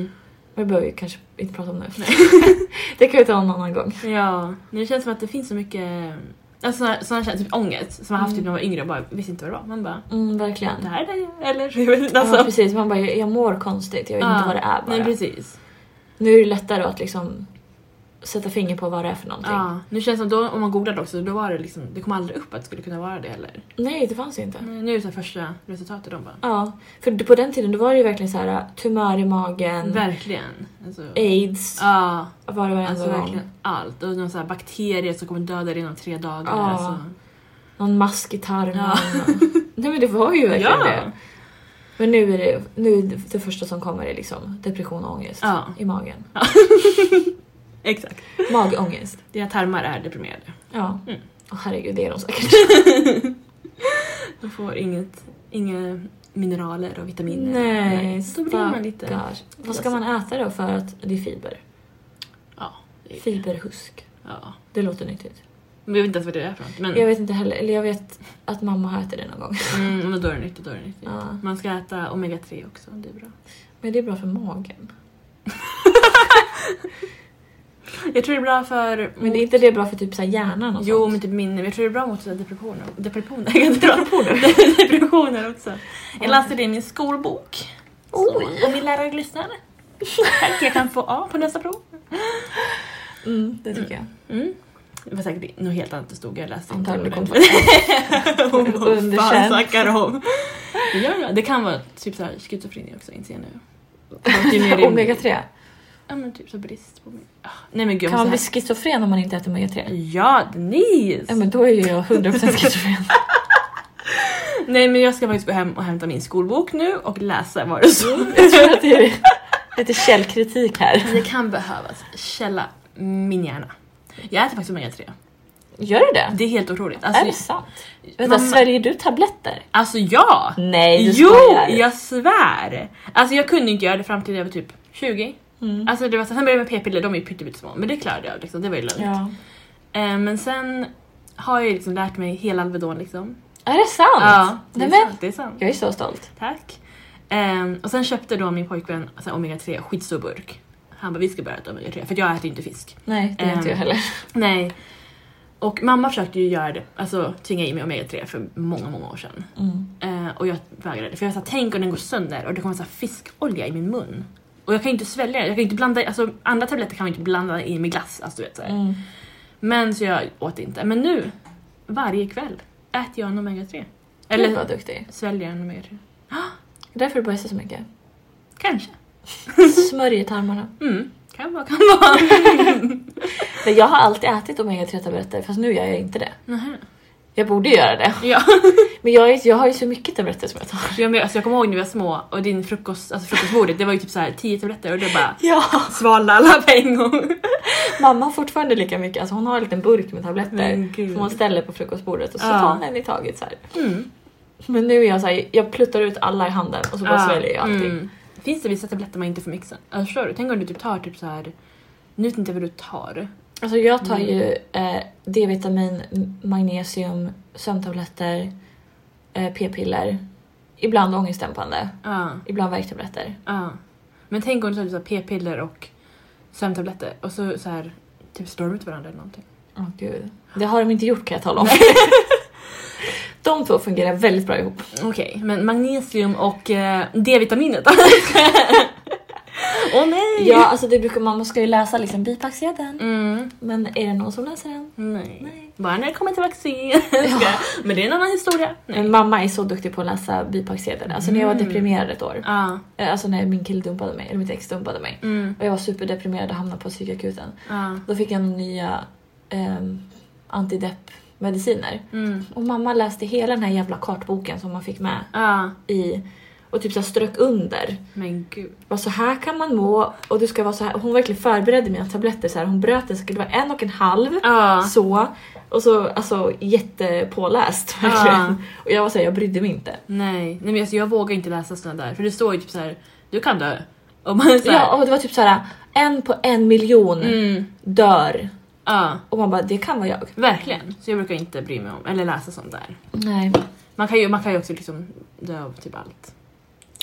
[SPEAKER 2] Men det behöver vi kanske inte prata om nu. det kan vi ta en annan gång.
[SPEAKER 1] Ja, men det känns som att det finns så mycket alltså, såna- såna känslor, typ ångest som man haft typ när man var yngre och bara visste inte vad det var. Man bara,
[SPEAKER 2] Mm,
[SPEAKER 1] det
[SPEAKER 2] verkligen.
[SPEAKER 1] här är det eller? Jag vet inte, alltså.
[SPEAKER 2] Ja, precis, man bara jag, jag mår konstigt, jag vet
[SPEAKER 1] Ja.
[SPEAKER 2] inte vad det är bara.
[SPEAKER 1] Nej precis.
[SPEAKER 2] nu är det lättare att liksom sätta finger på vad det är för någonting.
[SPEAKER 1] Ja. Nu känns det som då, om man googlade också, då var det liksom, det kom aldrig upp att det skulle kunna vara det heller.
[SPEAKER 2] Nej, det fanns ju inte.
[SPEAKER 1] Nej, Nu är det så här första resultatet de bara,
[SPEAKER 2] Ja, för på den tiden då var det ju verkligen så här tumör i magen,
[SPEAKER 1] verkligen. Alltså,
[SPEAKER 2] aids,
[SPEAKER 1] ja,
[SPEAKER 2] var det varenda
[SPEAKER 1] alltså
[SPEAKER 2] gång.
[SPEAKER 1] verkligen allt. Och någon så här bakterier som kommer döda dig inom tre dagar.
[SPEAKER 2] Ja.
[SPEAKER 1] Alltså.
[SPEAKER 2] någon mask i tarmen.
[SPEAKER 1] Ja.
[SPEAKER 2] och- Nej men det var ju verkligen
[SPEAKER 1] Ja.
[SPEAKER 2] det. Men nu är det, nu är det, det första som kommer är liksom depression och ångest
[SPEAKER 1] Ja.
[SPEAKER 2] i magen.
[SPEAKER 1] Exakt.
[SPEAKER 2] Magångest.
[SPEAKER 1] Dina tarmar är deprimerade.
[SPEAKER 2] Ja.
[SPEAKER 1] Mm.
[SPEAKER 2] Åh, herregud, det är de säkert.
[SPEAKER 1] Du får inget, inga mineraler och vitaminer. Då blir man lite...
[SPEAKER 2] stackars. Vad ska man äta då för att det är fiber?
[SPEAKER 1] Ja. det är-
[SPEAKER 2] Fiberhusk.
[SPEAKER 1] ja.
[SPEAKER 2] Det låter nyttigt.
[SPEAKER 1] Men jag vet inte ens vad det är för något. Men
[SPEAKER 2] Jag vet inte heller, eller jag vet att mamma har ätit det någon gång.
[SPEAKER 1] mm, men då är det nyttigt. Då är det nyttigt.
[SPEAKER 2] Ja.
[SPEAKER 1] Man ska äta omega-3 också. Det är bra.
[SPEAKER 2] Men det är bra för magen.
[SPEAKER 1] Jag tror det är bra för...
[SPEAKER 2] Men det är inte det bra för typ så här hjärnan och
[SPEAKER 1] Jo,
[SPEAKER 2] sånt?
[SPEAKER 1] men typ minne. Men Jag tror det är bra mot så här depressioner. Depressioner? Jag kan inte prata. depressioner också. Jag läste det i min skolbok. Så,
[SPEAKER 2] Oj.
[SPEAKER 1] Om min lärare lyssnar. Tack, jag kan få A på nästa prov. typ-
[SPEAKER 2] Mm, det tycker jag.
[SPEAKER 1] Mm. Det var säkert något helt annat det stod. Jag läste inte
[SPEAKER 2] Antagligen
[SPEAKER 1] ordet.
[SPEAKER 2] kommer det.
[SPEAKER 1] Hon bara,
[SPEAKER 4] Underkänt.
[SPEAKER 1] "Fan, snackar du om. Ja, ja, det kan vara typ såhär schizofreni också inser jag nu. Det
[SPEAKER 2] typ
[SPEAKER 1] är mer rimligt.
[SPEAKER 2] Omega-3.
[SPEAKER 1] Ja men typ så brist på mig. Ah, Nej men gud
[SPEAKER 2] Kan
[SPEAKER 1] jag
[SPEAKER 2] man bli
[SPEAKER 1] måste...
[SPEAKER 2] schizofren om man inte äter omega-3?
[SPEAKER 1] Ja, Denise!
[SPEAKER 2] Ja men då är ju jag 100% schizofren.
[SPEAKER 1] Nej men jag ska faktiskt gå hem och hämta min skolbok nu och läsa vad det står.
[SPEAKER 2] Jag tror att det är lite källkritik här.
[SPEAKER 1] Det kan behövas källa min hjärna. Jag äter faktiskt omega-3.
[SPEAKER 2] Gör du det?
[SPEAKER 1] Det är helt otroligt.
[SPEAKER 2] är det
[SPEAKER 1] Alltså,
[SPEAKER 2] sant? Vänta,
[SPEAKER 1] Mamma-
[SPEAKER 2] sväljer du tabletter?
[SPEAKER 1] alltså ja!
[SPEAKER 2] Nej, du
[SPEAKER 1] jo,
[SPEAKER 2] skojar.
[SPEAKER 1] jag svär! Alltså jag kunde inte göra det fram till jag var typ 20.
[SPEAKER 2] Mm.
[SPEAKER 1] Alltså det var så, sen började jag med p-piller, de är ju pyttesmå, men det klarade jag liksom, det var ju lugnt.
[SPEAKER 2] Ja.
[SPEAKER 1] Eh, men sen har jag ju liksom lärt mig hela Alvedon liksom.
[SPEAKER 2] Är det sant?
[SPEAKER 1] Ja, det
[SPEAKER 2] Nej,
[SPEAKER 1] är
[SPEAKER 2] men,
[SPEAKER 1] sant. Det är sant.
[SPEAKER 2] jag är så stolt.
[SPEAKER 1] Tack. Ehm, och sen köpte då min pojkvän så här omega-3, skitstor burk. Han bara vi ska börja äta omega-3 för jag äter ju inte fisk.
[SPEAKER 2] Nej, det är inte
[SPEAKER 1] Ehm.
[SPEAKER 2] jag heller.
[SPEAKER 1] Nej. Och mamma försökte ju göra det, alltså tvinga i mig omega-3 för många, många år sedan.
[SPEAKER 2] Mm.
[SPEAKER 1] Eh, och jag vägrade för jag sa tänk om den går sönder och det kommer så här fiskolja i min mun. Och jag kan ju inte svälja det, jag kan ju inte blanda, alltså andra tabletter kan man ju inte blanda i med glass. Alltså, du vet, så här.
[SPEAKER 2] Mm.
[SPEAKER 1] Men så jag åt inte. Men nu, varje kväll, äter jag en omega-3.
[SPEAKER 2] Eller
[SPEAKER 1] Eller
[SPEAKER 2] vad duktig.
[SPEAKER 1] sväljer en omega-3.
[SPEAKER 2] Därför du bajsar så mycket.
[SPEAKER 1] Kanske.
[SPEAKER 2] Smörj i tarmarna.
[SPEAKER 1] Mm. Kan vara, kan vara.
[SPEAKER 2] Men jag har alltid ätit omega-3 tabletter fast nu gör jag inte det.
[SPEAKER 1] Nähä.
[SPEAKER 2] Jag borde göra det.
[SPEAKER 1] Ja.
[SPEAKER 2] Men jag, är, jag har ju så mycket tabletter som jag tar.
[SPEAKER 1] Jag, men, alltså, jag kommer ihåg när vi var små och din frukost, alltså frukostbordet, det var ju typ så här 10 tabletter och det bara
[SPEAKER 2] Ja,
[SPEAKER 1] svalde alla på en gång.
[SPEAKER 2] mamma har fortfarande lika mycket. Alltså hon har en liten burk med tabletter
[SPEAKER 1] Men gud.
[SPEAKER 2] som hon ställer på frukostbordet och så
[SPEAKER 1] Mm. Ja.
[SPEAKER 2] tar hon en i taget så här.
[SPEAKER 1] Mm.
[SPEAKER 2] Men nu är jag så här, jag pluttar ut alla i handen och så bara
[SPEAKER 1] Ja.
[SPEAKER 2] sväljer jag allting.
[SPEAKER 1] Mm. Finns det vissa tabletter man inte får mixa? Alltså, förstår du? Tänk om du typ tar typ så här. nu vet inte jag vad du tar.
[SPEAKER 2] Alltså jag
[SPEAKER 1] Mm.
[SPEAKER 2] tar ju eh, D-vitamin, m- magnesium, sömntabletter, eh, p-piller, ibland ångestdämpande,
[SPEAKER 1] Ja,
[SPEAKER 2] ibland värktabletter.
[SPEAKER 1] ja. Ah, Men tänk om du tar typ så här p-piller och sömntabletter och så, så här typ slår de ut varandra eller någonting.
[SPEAKER 2] Åh gud. Det har de inte gjort kan jag tala om. de två fungerar väldigt bra ihop.
[SPEAKER 1] Okej, men magnesium och eh, D-vitaminet då? Åh nej!
[SPEAKER 2] Ja, alltså det brukar, man ska ju läsa liksom bipacksedeln.
[SPEAKER 1] Mm.
[SPEAKER 2] Men är det någon som läser den?
[SPEAKER 1] Nej.
[SPEAKER 2] Nej.
[SPEAKER 1] Bara när det kommer till vaccin. Men det är en annan historia.
[SPEAKER 2] Men Eh, mamma är så duktig på att läsa bipacksedeln. Alltså när jag var
[SPEAKER 1] Mm.
[SPEAKER 2] deprimerad ett år.
[SPEAKER 1] Ja.
[SPEAKER 2] eh, Alltså när min kille dumpade mig, eller mitt ex dumpade mig.
[SPEAKER 1] Mm. ah,
[SPEAKER 2] Och jag var superdeprimerad och hamnade på psykakuten.
[SPEAKER 1] Ja.
[SPEAKER 2] Då fick jag nya ehm, antideppmediciner.
[SPEAKER 1] Mm.
[SPEAKER 2] Och mamma läste hela den här jävla kartboken som man fick med
[SPEAKER 1] Ja.
[SPEAKER 2] i och typ så här strök under.
[SPEAKER 1] Ah, Men gud.
[SPEAKER 2] Bara, så här kan man må och du ska vara så här. Hon verkligen förberedde mina tabletter så här. Hon bröt det så skulle det vara en och en halv.
[SPEAKER 1] Ja.
[SPEAKER 2] Så. Och så alltså jättepåläst verkligen. Och jag var såhär, jag brydde mig inte.
[SPEAKER 1] Nej. Nej men alltså, jag vågar inte läsa sådana där för det står ju typ så här. du kan dö. Och man är så här,
[SPEAKER 2] Ja och det var typ så här en på en miljon
[SPEAKER 1] Mm.
[SPEAKER 2] dör.
[SPEAKER 1] Ja,
[SPEAKER 2] Och man bara, det kan vara jag.
[SPEAKER 1] verkligen. Så jag brukar inte bry mig om, eller läsa sånt där.
[SPEAKER 2] Nej.
[SPEAKER 1] Man kan ju, man kan ju också liksom dö av typ allt.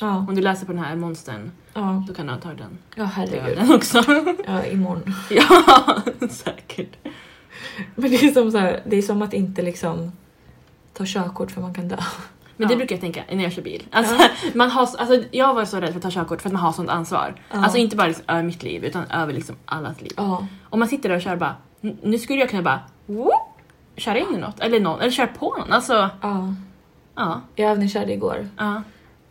[SPEAKER 2] Ja.
[SPEAKER 1] Om du läser på den här monstern,
[SPEAKER 2] Ja,
[SPEAKER 1] då kan du antagligen dö
[SPEAKER 2] ja
[SPEAKER 1] av
[SPEAKER 2] herregud.
[SPEAKER 1] den också.
[SPEAKER 2] Ja, imorgon.
[SPEAKER 1] ja, säkert.
[SPEAKER 2] Men det är som, så här, det är som att inte liksom ta körkort för man kan dö.
[SPEAKER 1] Men det
[SPEAKER 2] Ja.
[SPEAKER 1] brukar jag tänka när jag kör bil. Alltså, man har, alltså, jag var så rädd för att ta körkort för att man har sånt ansvar.
[SPEAKER 2] Ja.
[SPEAKER 1] Alltså inte bara liksom, över mitt liv utan över liksom allas liv.
[SPEAKER 2] Ja.
[SPEAKER 1] Om man sitter där och kör bara, "N- nu skulle jag kunna bara whoop, köra in i något eller, någon, eller köra på någon. Alltså,
[SPEAKER 2] ja.
[SPEAKER 1] ja.
[SPEAKER 2] Jag övningskörde igår
[SPEAKER 1] ja,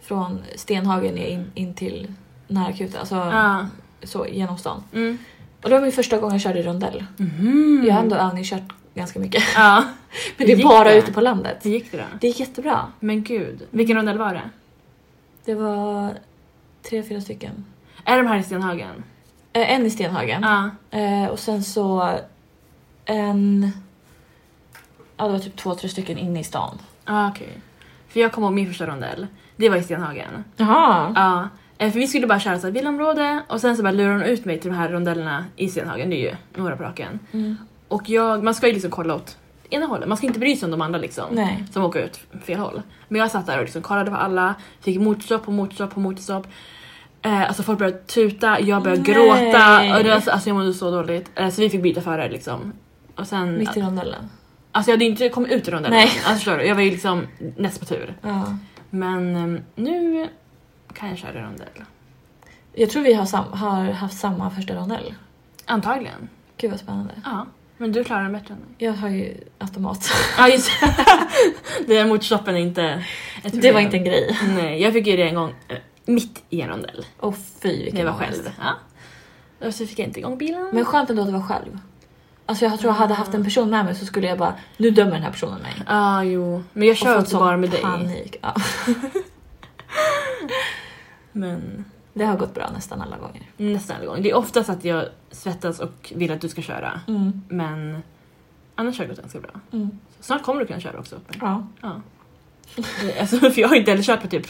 [SPEAKER 2] från Stenhagen in, in till nära akuten, alltså
[SPEAKER 1] ja.
[SPEAKER 2] så genom stan.
[SPEAKER 1] Mm.
[SPEAKER 2] Och det var min första gång Mm-hmm. jag körde i rondell.
[SPEAKER 1] Mhm.
[SPEAKER 2] Jag har ändå övningskört ganska mycket.
[SPEAKER 1] Ja.
[SPEAKER 2] Men det är
[SPEAKER 1] gick
[SPEAKER 2] bara
[SPEAKER 1] det?
[SPEAKER 2] ute på landet.
[SPEAKER 1] Hur gick det då?
[SPEAKER 2] Det är jättebra.
[SPEAKER 1] Men gud. Vilken rondell var det?
[SPEAKER 2] Det var tre, fyra stycken.
[SPEAKER 1] Är de här i Stenhagen?
[SPEAKER 2] Eh, En i Stenhagen.
[SPEAKER 1] Ja.
[SPEAKER 2] Eh, och sen så en... Ja, det var typ två, tre stycken inne i stan.
[SPEAKER 1] Ja, okej. För jag kom ihåg min första rondell. Det var i
[SPEAKER 2] Mm.
[SPEAKER 1] Stenhagen.
[SPEAKER 5] Jaha.
[SPEAKER 1] Ja. Eh, För vi skulle bara köra så här villaområde och sen så bara lurade hon ut mig till de här rondellerna i Stenhagen. Det är ju några på raken.
[SPEAKER 2] Mm.
[SPEAKER 1] Och jag, man ska ju liksom kolla åt ena hållet. Man ska inte bry sig om de andra liksom.
[SPEAKER 2] Nej.
[SPEAKER 1] Som åker ut fel håll. Men jag satt där och liksom kollade på alla. Fick motorstopp på motorstopp på motorstopp. Eh, alltså folk började tuta, jag började
[SPEAKER 2] Nej.
[SPEAKER 1] gråta. Och det var, så- alltså jag mådde så dåligt. Eh, så vi fick byta förare liksom. Och sen,
[SPEAKER 2] Mitt i rondellen.
[SPEAKER 1] alltså jag hade ju inte kommit ut ur rondellen.
[SPEAKER 2] Nej.
[SPEAKER 1] Alltså förstår du? Jag var ju liksom näst på tur.
[SPEAKER 2] Ja.
[SPEAKER 1] Men eh, nu kan jag köra rondell.
[SPEAKER 2] Jag tror vi har, sam- har haft samma första rondell.
[SPEAKER 1] Antagligen.
[SPEAKER 2] Gud vad spännande.
[SPEAKER 1] Ja. Men du klarar den bättre än mig.
[SPEAKER 2] Jag har ju automat.
[SPEAKER 1] Ja just det. Motorstoppen är inte ett
[SPEAKER 2] Det var
[SPEAKER 1] problem.
[SPEAKER 2] inte en grej.
[SPEAKER 1] Nej, jag fick ju det en gång eh, mitt i en rondell.
[SPEAKER 2] Åh fy vilken
[SPEAKER 1] När jag var
[SPEAKER 2] ångest.
[SPEAKER 1] själv. Ja. Och så fick jag inte igång bilen.
[SPEAKER 2] Men skönt ändå att det var själv. Alltså jag tror jag hade haft en person med mig så skulle jag bara, nu dömer den här personen mig.
[SPEAKER 1] Ja, ah, jo. Men jag
[SPEAKER 2] Och
[SPEAKER 1] kör
[SPEAKER 2] fått
[SPEAKER 1] också
[SPEAKER 2] sån
[SPEAKER 1] bara med dig.
[SPEAKER 2] panik. Ja.
[SPEAKER 1] Men
[SPEAKER 2] Det har gått bra nästan alla gånger.
[SPEAKER 1] nästan alla gånger. Det är oftast att jag svettas och vill att du ska köra.
[SPEAKER 2] Mm.
[SPEAKER 1] Men annars har det gått ganska bra.
[SPEAKER 2] Mm.
[SPEAKER 1] Så snart kommer du kunna köra också åt mig.
[SPEAKER 2] Ja.
[SPEAKER 1] Ja. Eh, alltså, för jag har inte heller kört på typ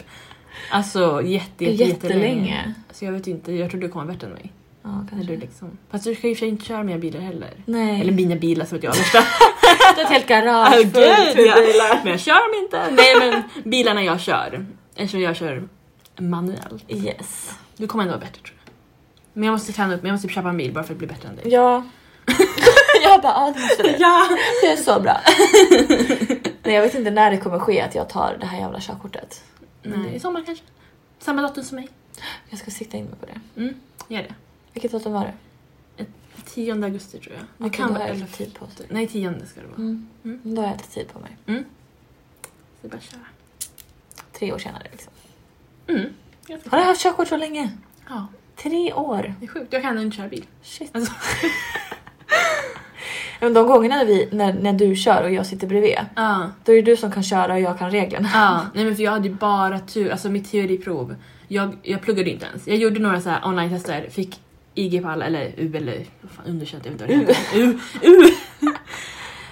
[SPEAKER 1] alltså, jätte, jätte, jättelänge.
[SPEAKER 2] Jättelänge.
[SPEAKER 1] Så jag vet inte, jag tror du kommer vara bättre än mig.
[SPEAKER 2] Ja,
[SPEAKER 1] När
[SPEAKER 2] kanske.
[SPEAKER 1] du liksom... Fast du ska ju i och för sig inte köra mina bilar heller.
[SPEAKER 2] Nej.
[SPEAKER 1] Eller mina bilar som att jag har värsta
[SPEAKER 2] Det är ett helt garage
[SPEAKER 1] Gud,
[SPEAKER 2] fullt med
[SPEAKER 1] ja.
[SPEAKER 2] bilar.
[SPEAKER 1] Men jag kör dem inte. Nej men bilarna jag kör, eftersom jag kör manuellt.
[SPEAKER 2] Yes.
[SPEAKER 1] Du kommer ändå vara bättre tror jag. Men jag måste träna upp mig, jag måste typ köpa en bil bara för att bli bättre än dig.
[SPEAKER 2] Ja. jag bara, ja det måste det.
[SPEAKER 1] Ja!
[SPEAKER 2] Det är så bra. Nej jag vet inte när det kommer ske att jag tar det här jävla körkortet.
[SPEAKER 1] Nej. I sommar kanske. Samma datum som mig.
[SPEAKER 2] Jag ska sikta in mig på det.
[SPEAKER 1] Mm, gör det.
[SPEAKER 2] Vilket datum var det?
[SPEAKER 1] 10 augusti tror jag. Det
[SPEAKER 2] Okej,
[SPEAKER 1] kan
[SPEAKER 2] då
[SPEAKER 1] vara
[SPEAKER 2] har jag
[SPEAKER 1] 11.
[SPEAKER 2] lite tid på mig.
[SPEAKER 1] Nej 10 ska det vara.
[SPEAKER 2] Mm. Då har jag lite tid på mig.
[SPEAKER 1] Så det är bara att köra.
[SPEAKER 2] Tre år senare liksom.
[SPEAKER 1] Mm.
[SPEAKER 2] Har jag haft körkort så länge?
[SPEAKER 1] Ja,
[SPEAKER 2] Tre år!
[SPEAKER 1] det är sjukt. Jag kan ändå inte köra bil.
[SPEAKER 2] Shit.
[SPEAKER 1] Alltså.
[SPEAKER 2] Men de gångerna när, vi, när, när du kör och jag sitter bredvid,
[SPEAKER 1] Ja.
[SPEAKER 2] då är det du som kan köra och jag kan reglerna.
[SPEAKER 1] Ja, nej men för jag hade ju bara tur, alltså mitt teoriprov, jag, jag pluggade inte ens. Jag gjorde några så här online-tester, fick IG på alla, eller U eller vad fan, underkänt, jag vet inte vad det heter. U. U.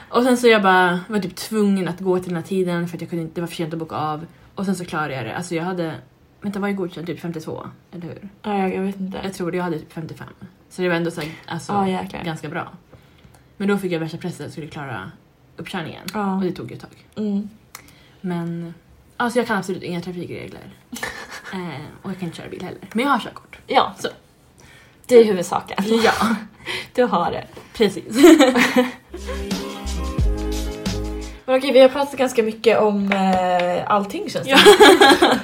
[SPEAKER 1] Och sen så jag bara var typ tvungen att gå till den här tiden för att jag kunde inte, det var för sent att boka av. Och sen så klarade jag det. Alltså jag hade, vänta var jag godkänd? Typ 52, eller hur?
[SPEAKER 2] Ja, jag, jag vet inte.
[SPEAKER 1] Jag tror det, jag hade typ 55. Så det var ändå så här, alltså,
[SPEAKER 2] Ah, Ja, jäklar.
[SPEAKER 1] ganska bra. Men då fick jag värsta pressen att jag skulle klara uppkörningen.
[SPEAKER 2] Ja.
[SPEAKER 1] Och det tog ju ett tag.
[SPEAKER 2] Mm.
[SPEAKER 1] Men alltså jag kan absolut inga trafikregler. eh, och jag kan inte köra bil heller. Men jag har körkort.
[SPEAKER 2] Ja,
[SPEAKER 1] Så.
[SPEAKER 2] det är huvudsaken.
[SPEAKER 1] Ja,
[SPEAKER 2] Du har det.
[SPEAKER 1] precis.
[SPEAKER 2] Men okej, vi har pratat ganska mycket om eh, allting känns det
[SPEAKER 1] Ja.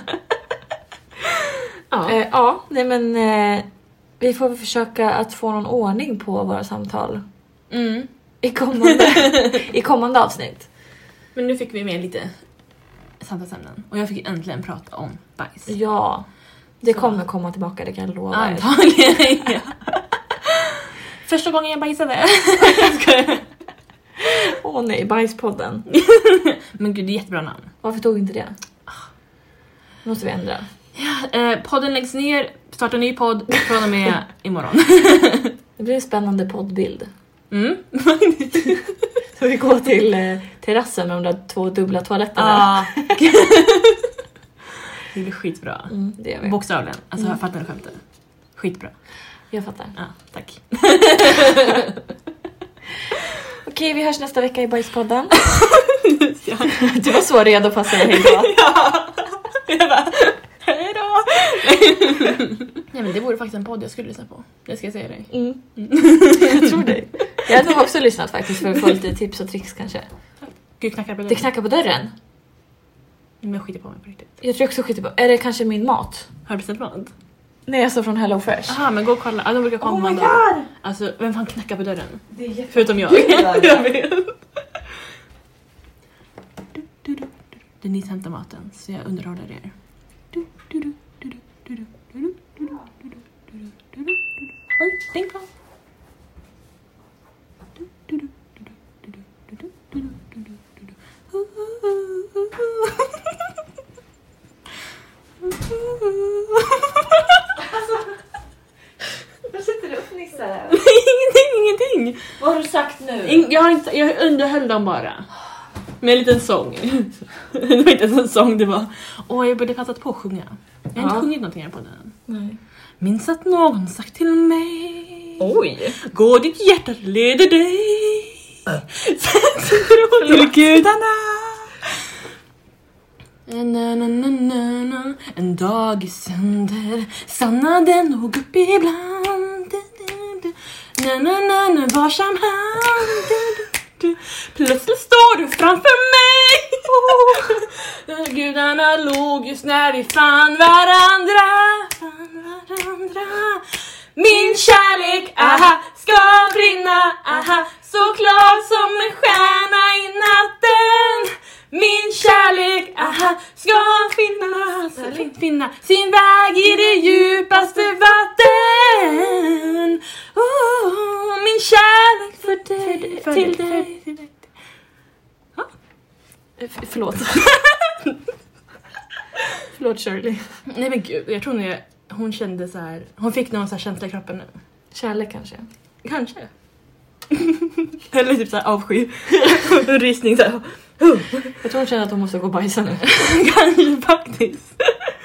[SPEAKER 2] ja. Eh, ja, nej men eh, vi får väl försöka att få någon ordning på våra samtal
[SPEAKER 1] Mm.
[SPEAKER 2] i kommande, i kommande avsnitt.
[SPEAKER 1] Men nu fick vi med lite samtalsämnen. Och jag fick äntligen prata om bajs.
[SPEAKER 2] Ja, det
[SPEAKER 1] Så.
[SPEAKER 2] kommer komma tillbaka, det kan jag lova er.
[SPEAKER 1] Antagligen. ja. Första gången jag bajsade.
[SPEAKER 2] Åh nej, Bajspodden.
[SPEAKER 1] Men gud, det är jättebra namn.
[SPEAKER 2] Varför tog inte det? Nu måste vi ändra.
[SPEAKER 1] Eh, podden läggs ner, startar ny podd från och med imorgon.
[SPEAKER 2] Det blir en spännande poddbild.
[SPEAKER 1] Mm.
[SPEAKER 2] Så vi går till eh, terrassen med de där två dubbla toaletterna.
[SPEAKER 1] Ah. det blir skitbra.
[SPEAKER 2] Mm, det gör vi.
[SPEAKER 1] Bokstavligen. Alltså jag
[SPEAKER 2] Mm.
[SPEAKER 1] fattar du skämtet? Skitbra.
[SPEAKER 2] Jag fattar.
[SPEAKER 1] Ja, tack.
[SPEAKER 2] Okej, vi hörs nästa vecka i Bajspodden. du var så redo på att säga hejdå.
[SPEAKER 1] Hejdå! Nej men det vore faktiskt en podd jag skulle lyssna på. Det ska jag säga dig.
[SPEAKER 2] Mm. jag tror dig. Jag hade nog också lyssnat faktiskt för att få lite tips och tricks kanske.
[SPEAKER 1] Gud knackar på
[SPEAKER 2] Det
[SPEAKER 1] dörren.
[SPEAKER 2] knackar på dörren.
[SPEAKER 1] Men jag skiter på mig på riktigt.
[SPEAKER 2] Jag tror jag också skiter på... Är det kanske min mat?
[SPEAKER 1] Har du beställt mat?
[SPEAKER 2] Nej, alltså från Hello Fresh.
[SPEAKER 1] Jaha men gå och kolla. Ja, de brukar komma ändå.
[SPEAKER 5] Oh god!
[SPEAKER 1] Alltså vem fan knackar på dörren?
[SPEAKER 5] Det är jätte...
[SPEAKER 1] Förutom jag.
[SPEAKER 5] Gud, vad
[SPEAKER 1] jag vet. Du, du, du, du. Denise hämtar maten så jag underhåller er. Du, du, du, du, du, du, du, du, du, du, du, du, du, du, du, du. Oj, tänk på. Du, du, du, du, du, du, du, du.
[SPEAKER 2] Alltså,
[SPEAKER 1] någonting.
[SPEAKER 2] Vad har du sagt nu?
[SPEAKER 1] In- Jag, har inte, jag underhöll dem bara. Med en liten sång. det var inte ens en sång, det var Åh, jag borde passat på att sjunga. Jag har inte
[SPEAKER 2] Ja.
[SPEAKER 1] sjungit någonting här på den.
[SPEAKER 2] Nej.
[SPEAKER 1] Minns att någon sagt till mig
[SPEAKER 2] Oj!
[SPEAKER 1] Gå ditt hjärta leder dig Sen så tror du
[SPEAKER 6] Till gudarna!
[SPEAKER 1] Na, na, na, na, na. En dag i sönder stannade nog upp ibland Du, du, du. Na, na, na, na, varsam hand du, du, du. Plötsligt står du framför mig oh. Där Gudarna låg just när vi fann varandra, fann varandra. Min kärlek, aha, ska brinna, aha, så klar som en stjärna i natten. Min kärlek, aha, ska finna, fin- finna sin väg i det djupaste vatten. Oh, min kärlek för dig,
[SPEAKER 2] För
[SPEAKER 1] till
[SPEAKER 2] dig, för
[SPEAKER 1] dig.
[SPEAKER 2] F- förlåt. förlåt Shirley.
[SPEAKER 1] Nej men gud, jag tror nog hon kände så här. hon fick någon så här känsla i kroppen nu.
[SPEAKER 2] Kärlek kanske.
[SPEAKER 1] Kanske. Eller typ såhär avsky. Rysning såhär.
[SPEAKER 2] Jag tror hon känner att hon måste gå och bajsa nu.
[SPEAKER 1] Kanske faktiskt.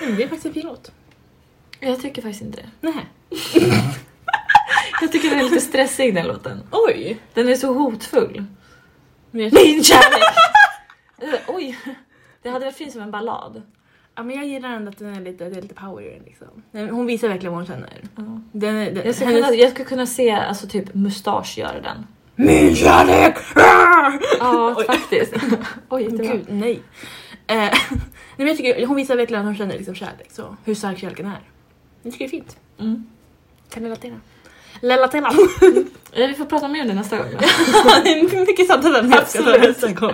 [SPEAKER 1] det är faktiskt en fin låt.
[SPEAKER 2] Jag tycker faktiskt inte det.
[SPEAKER 1] Nej.
[SPEAKER 2] Jag tycker den är lite stressig den låten.
[SPEAKER 1] Oj.
[SPEAKER 2] Den är så hotfull.
[SPEAKER 1] Men jag,
[SPEAKER 2] Min kärlek! Eh, Oj! Det hade varit fint som en ballad.
[SPEAKER 1] ja, men jag gillar ändå att den är lite, det är lite power i den liksom. Den- Hon visar verkligen vad hon känner. Den, är- den,
[SPEAKER 2] Jag skulle
[SPEAKER 1] hennes-
[SPEAKER 2] kunna, jag skulle kunna se alltså, typ mustasch göra den.
[SPEAKER 1] Min kärlek! Ah!
[SPEAKER 2] Ja,
[SPEAKER 1] Oj.
[SPEAKER 2] faktiskt. Oj, jättebra.
[SPEAKER 1] Gud, nej. Eh, nej men jag tycker, hon visar verkligen att hon känner liksom kärlek. Så, hur stark kärleken är. Jag tycker det är fint.
[SPEAKER 2] Mm.
[SPEAKER 1] Kan relatera. Relatera.
[SPEAKER 2] Eh, Vi får prata mer om det nästa gång. då.
[SPEAKER 1] det är mycket sånt där jag ska ta
[SPEAKER 2] Absolut.
[SPEAKER 1] nästa gång.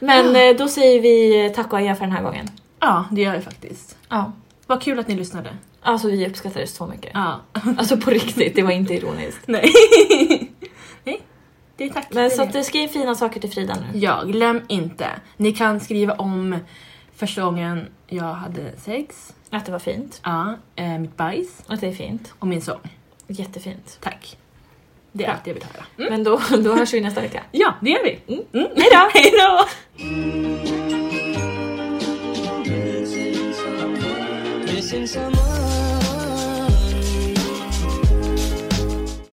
[SPEAKER 2] Men eh, då säger vi eh, tack och adjö för den här gången.
[SPEAKER 1] Ja, det gör jag faktiskt.
[SPEAKER 2] Ja.
[SPEAKER 1] Vad kul att ni lyssnade.
[SPEAKER 2] Alltså vi uppskattar det så mycket.
[SPEAKER 1] Ja.
[SPEAKER 2] Alltså på riktigt, det var inte ironiskt.
[SPEAKER 1] Nej. Nej. Det är tack.
[SPEAKER 2] Men
[SPEAKER 1] Det är
[SPEAKER 2] så att,
[SPEAKER 1] det.
[SPEAKER 2] eh, skriv fina saker till Frida nu.
[SPEAKER 1] Ja, glöm inte. Ni kan skriva om första gången jag hade sex.
[SPEAKER 2] Att det var fint.
[SPEAKER 1] Ja, eh, mitt bajs
[SPEAKER 2] Att det är fint.
[SPEAKER 1] och min sång.
[SPEAKER 2] Jättefint.
[SPEAKER 1] Tack. Det är allt jag vill höra. Mm.
[SPEAKER 2] Men då, då hörs vi nästa vecka.
[SPEAKER 1] Ja, det gör vi.
[SPEAKER 2] Mm.
[SPEAKER 1] Mm. Hejdå! Hejdå!
[SPEAKER 7] Missing someone. Missing someone.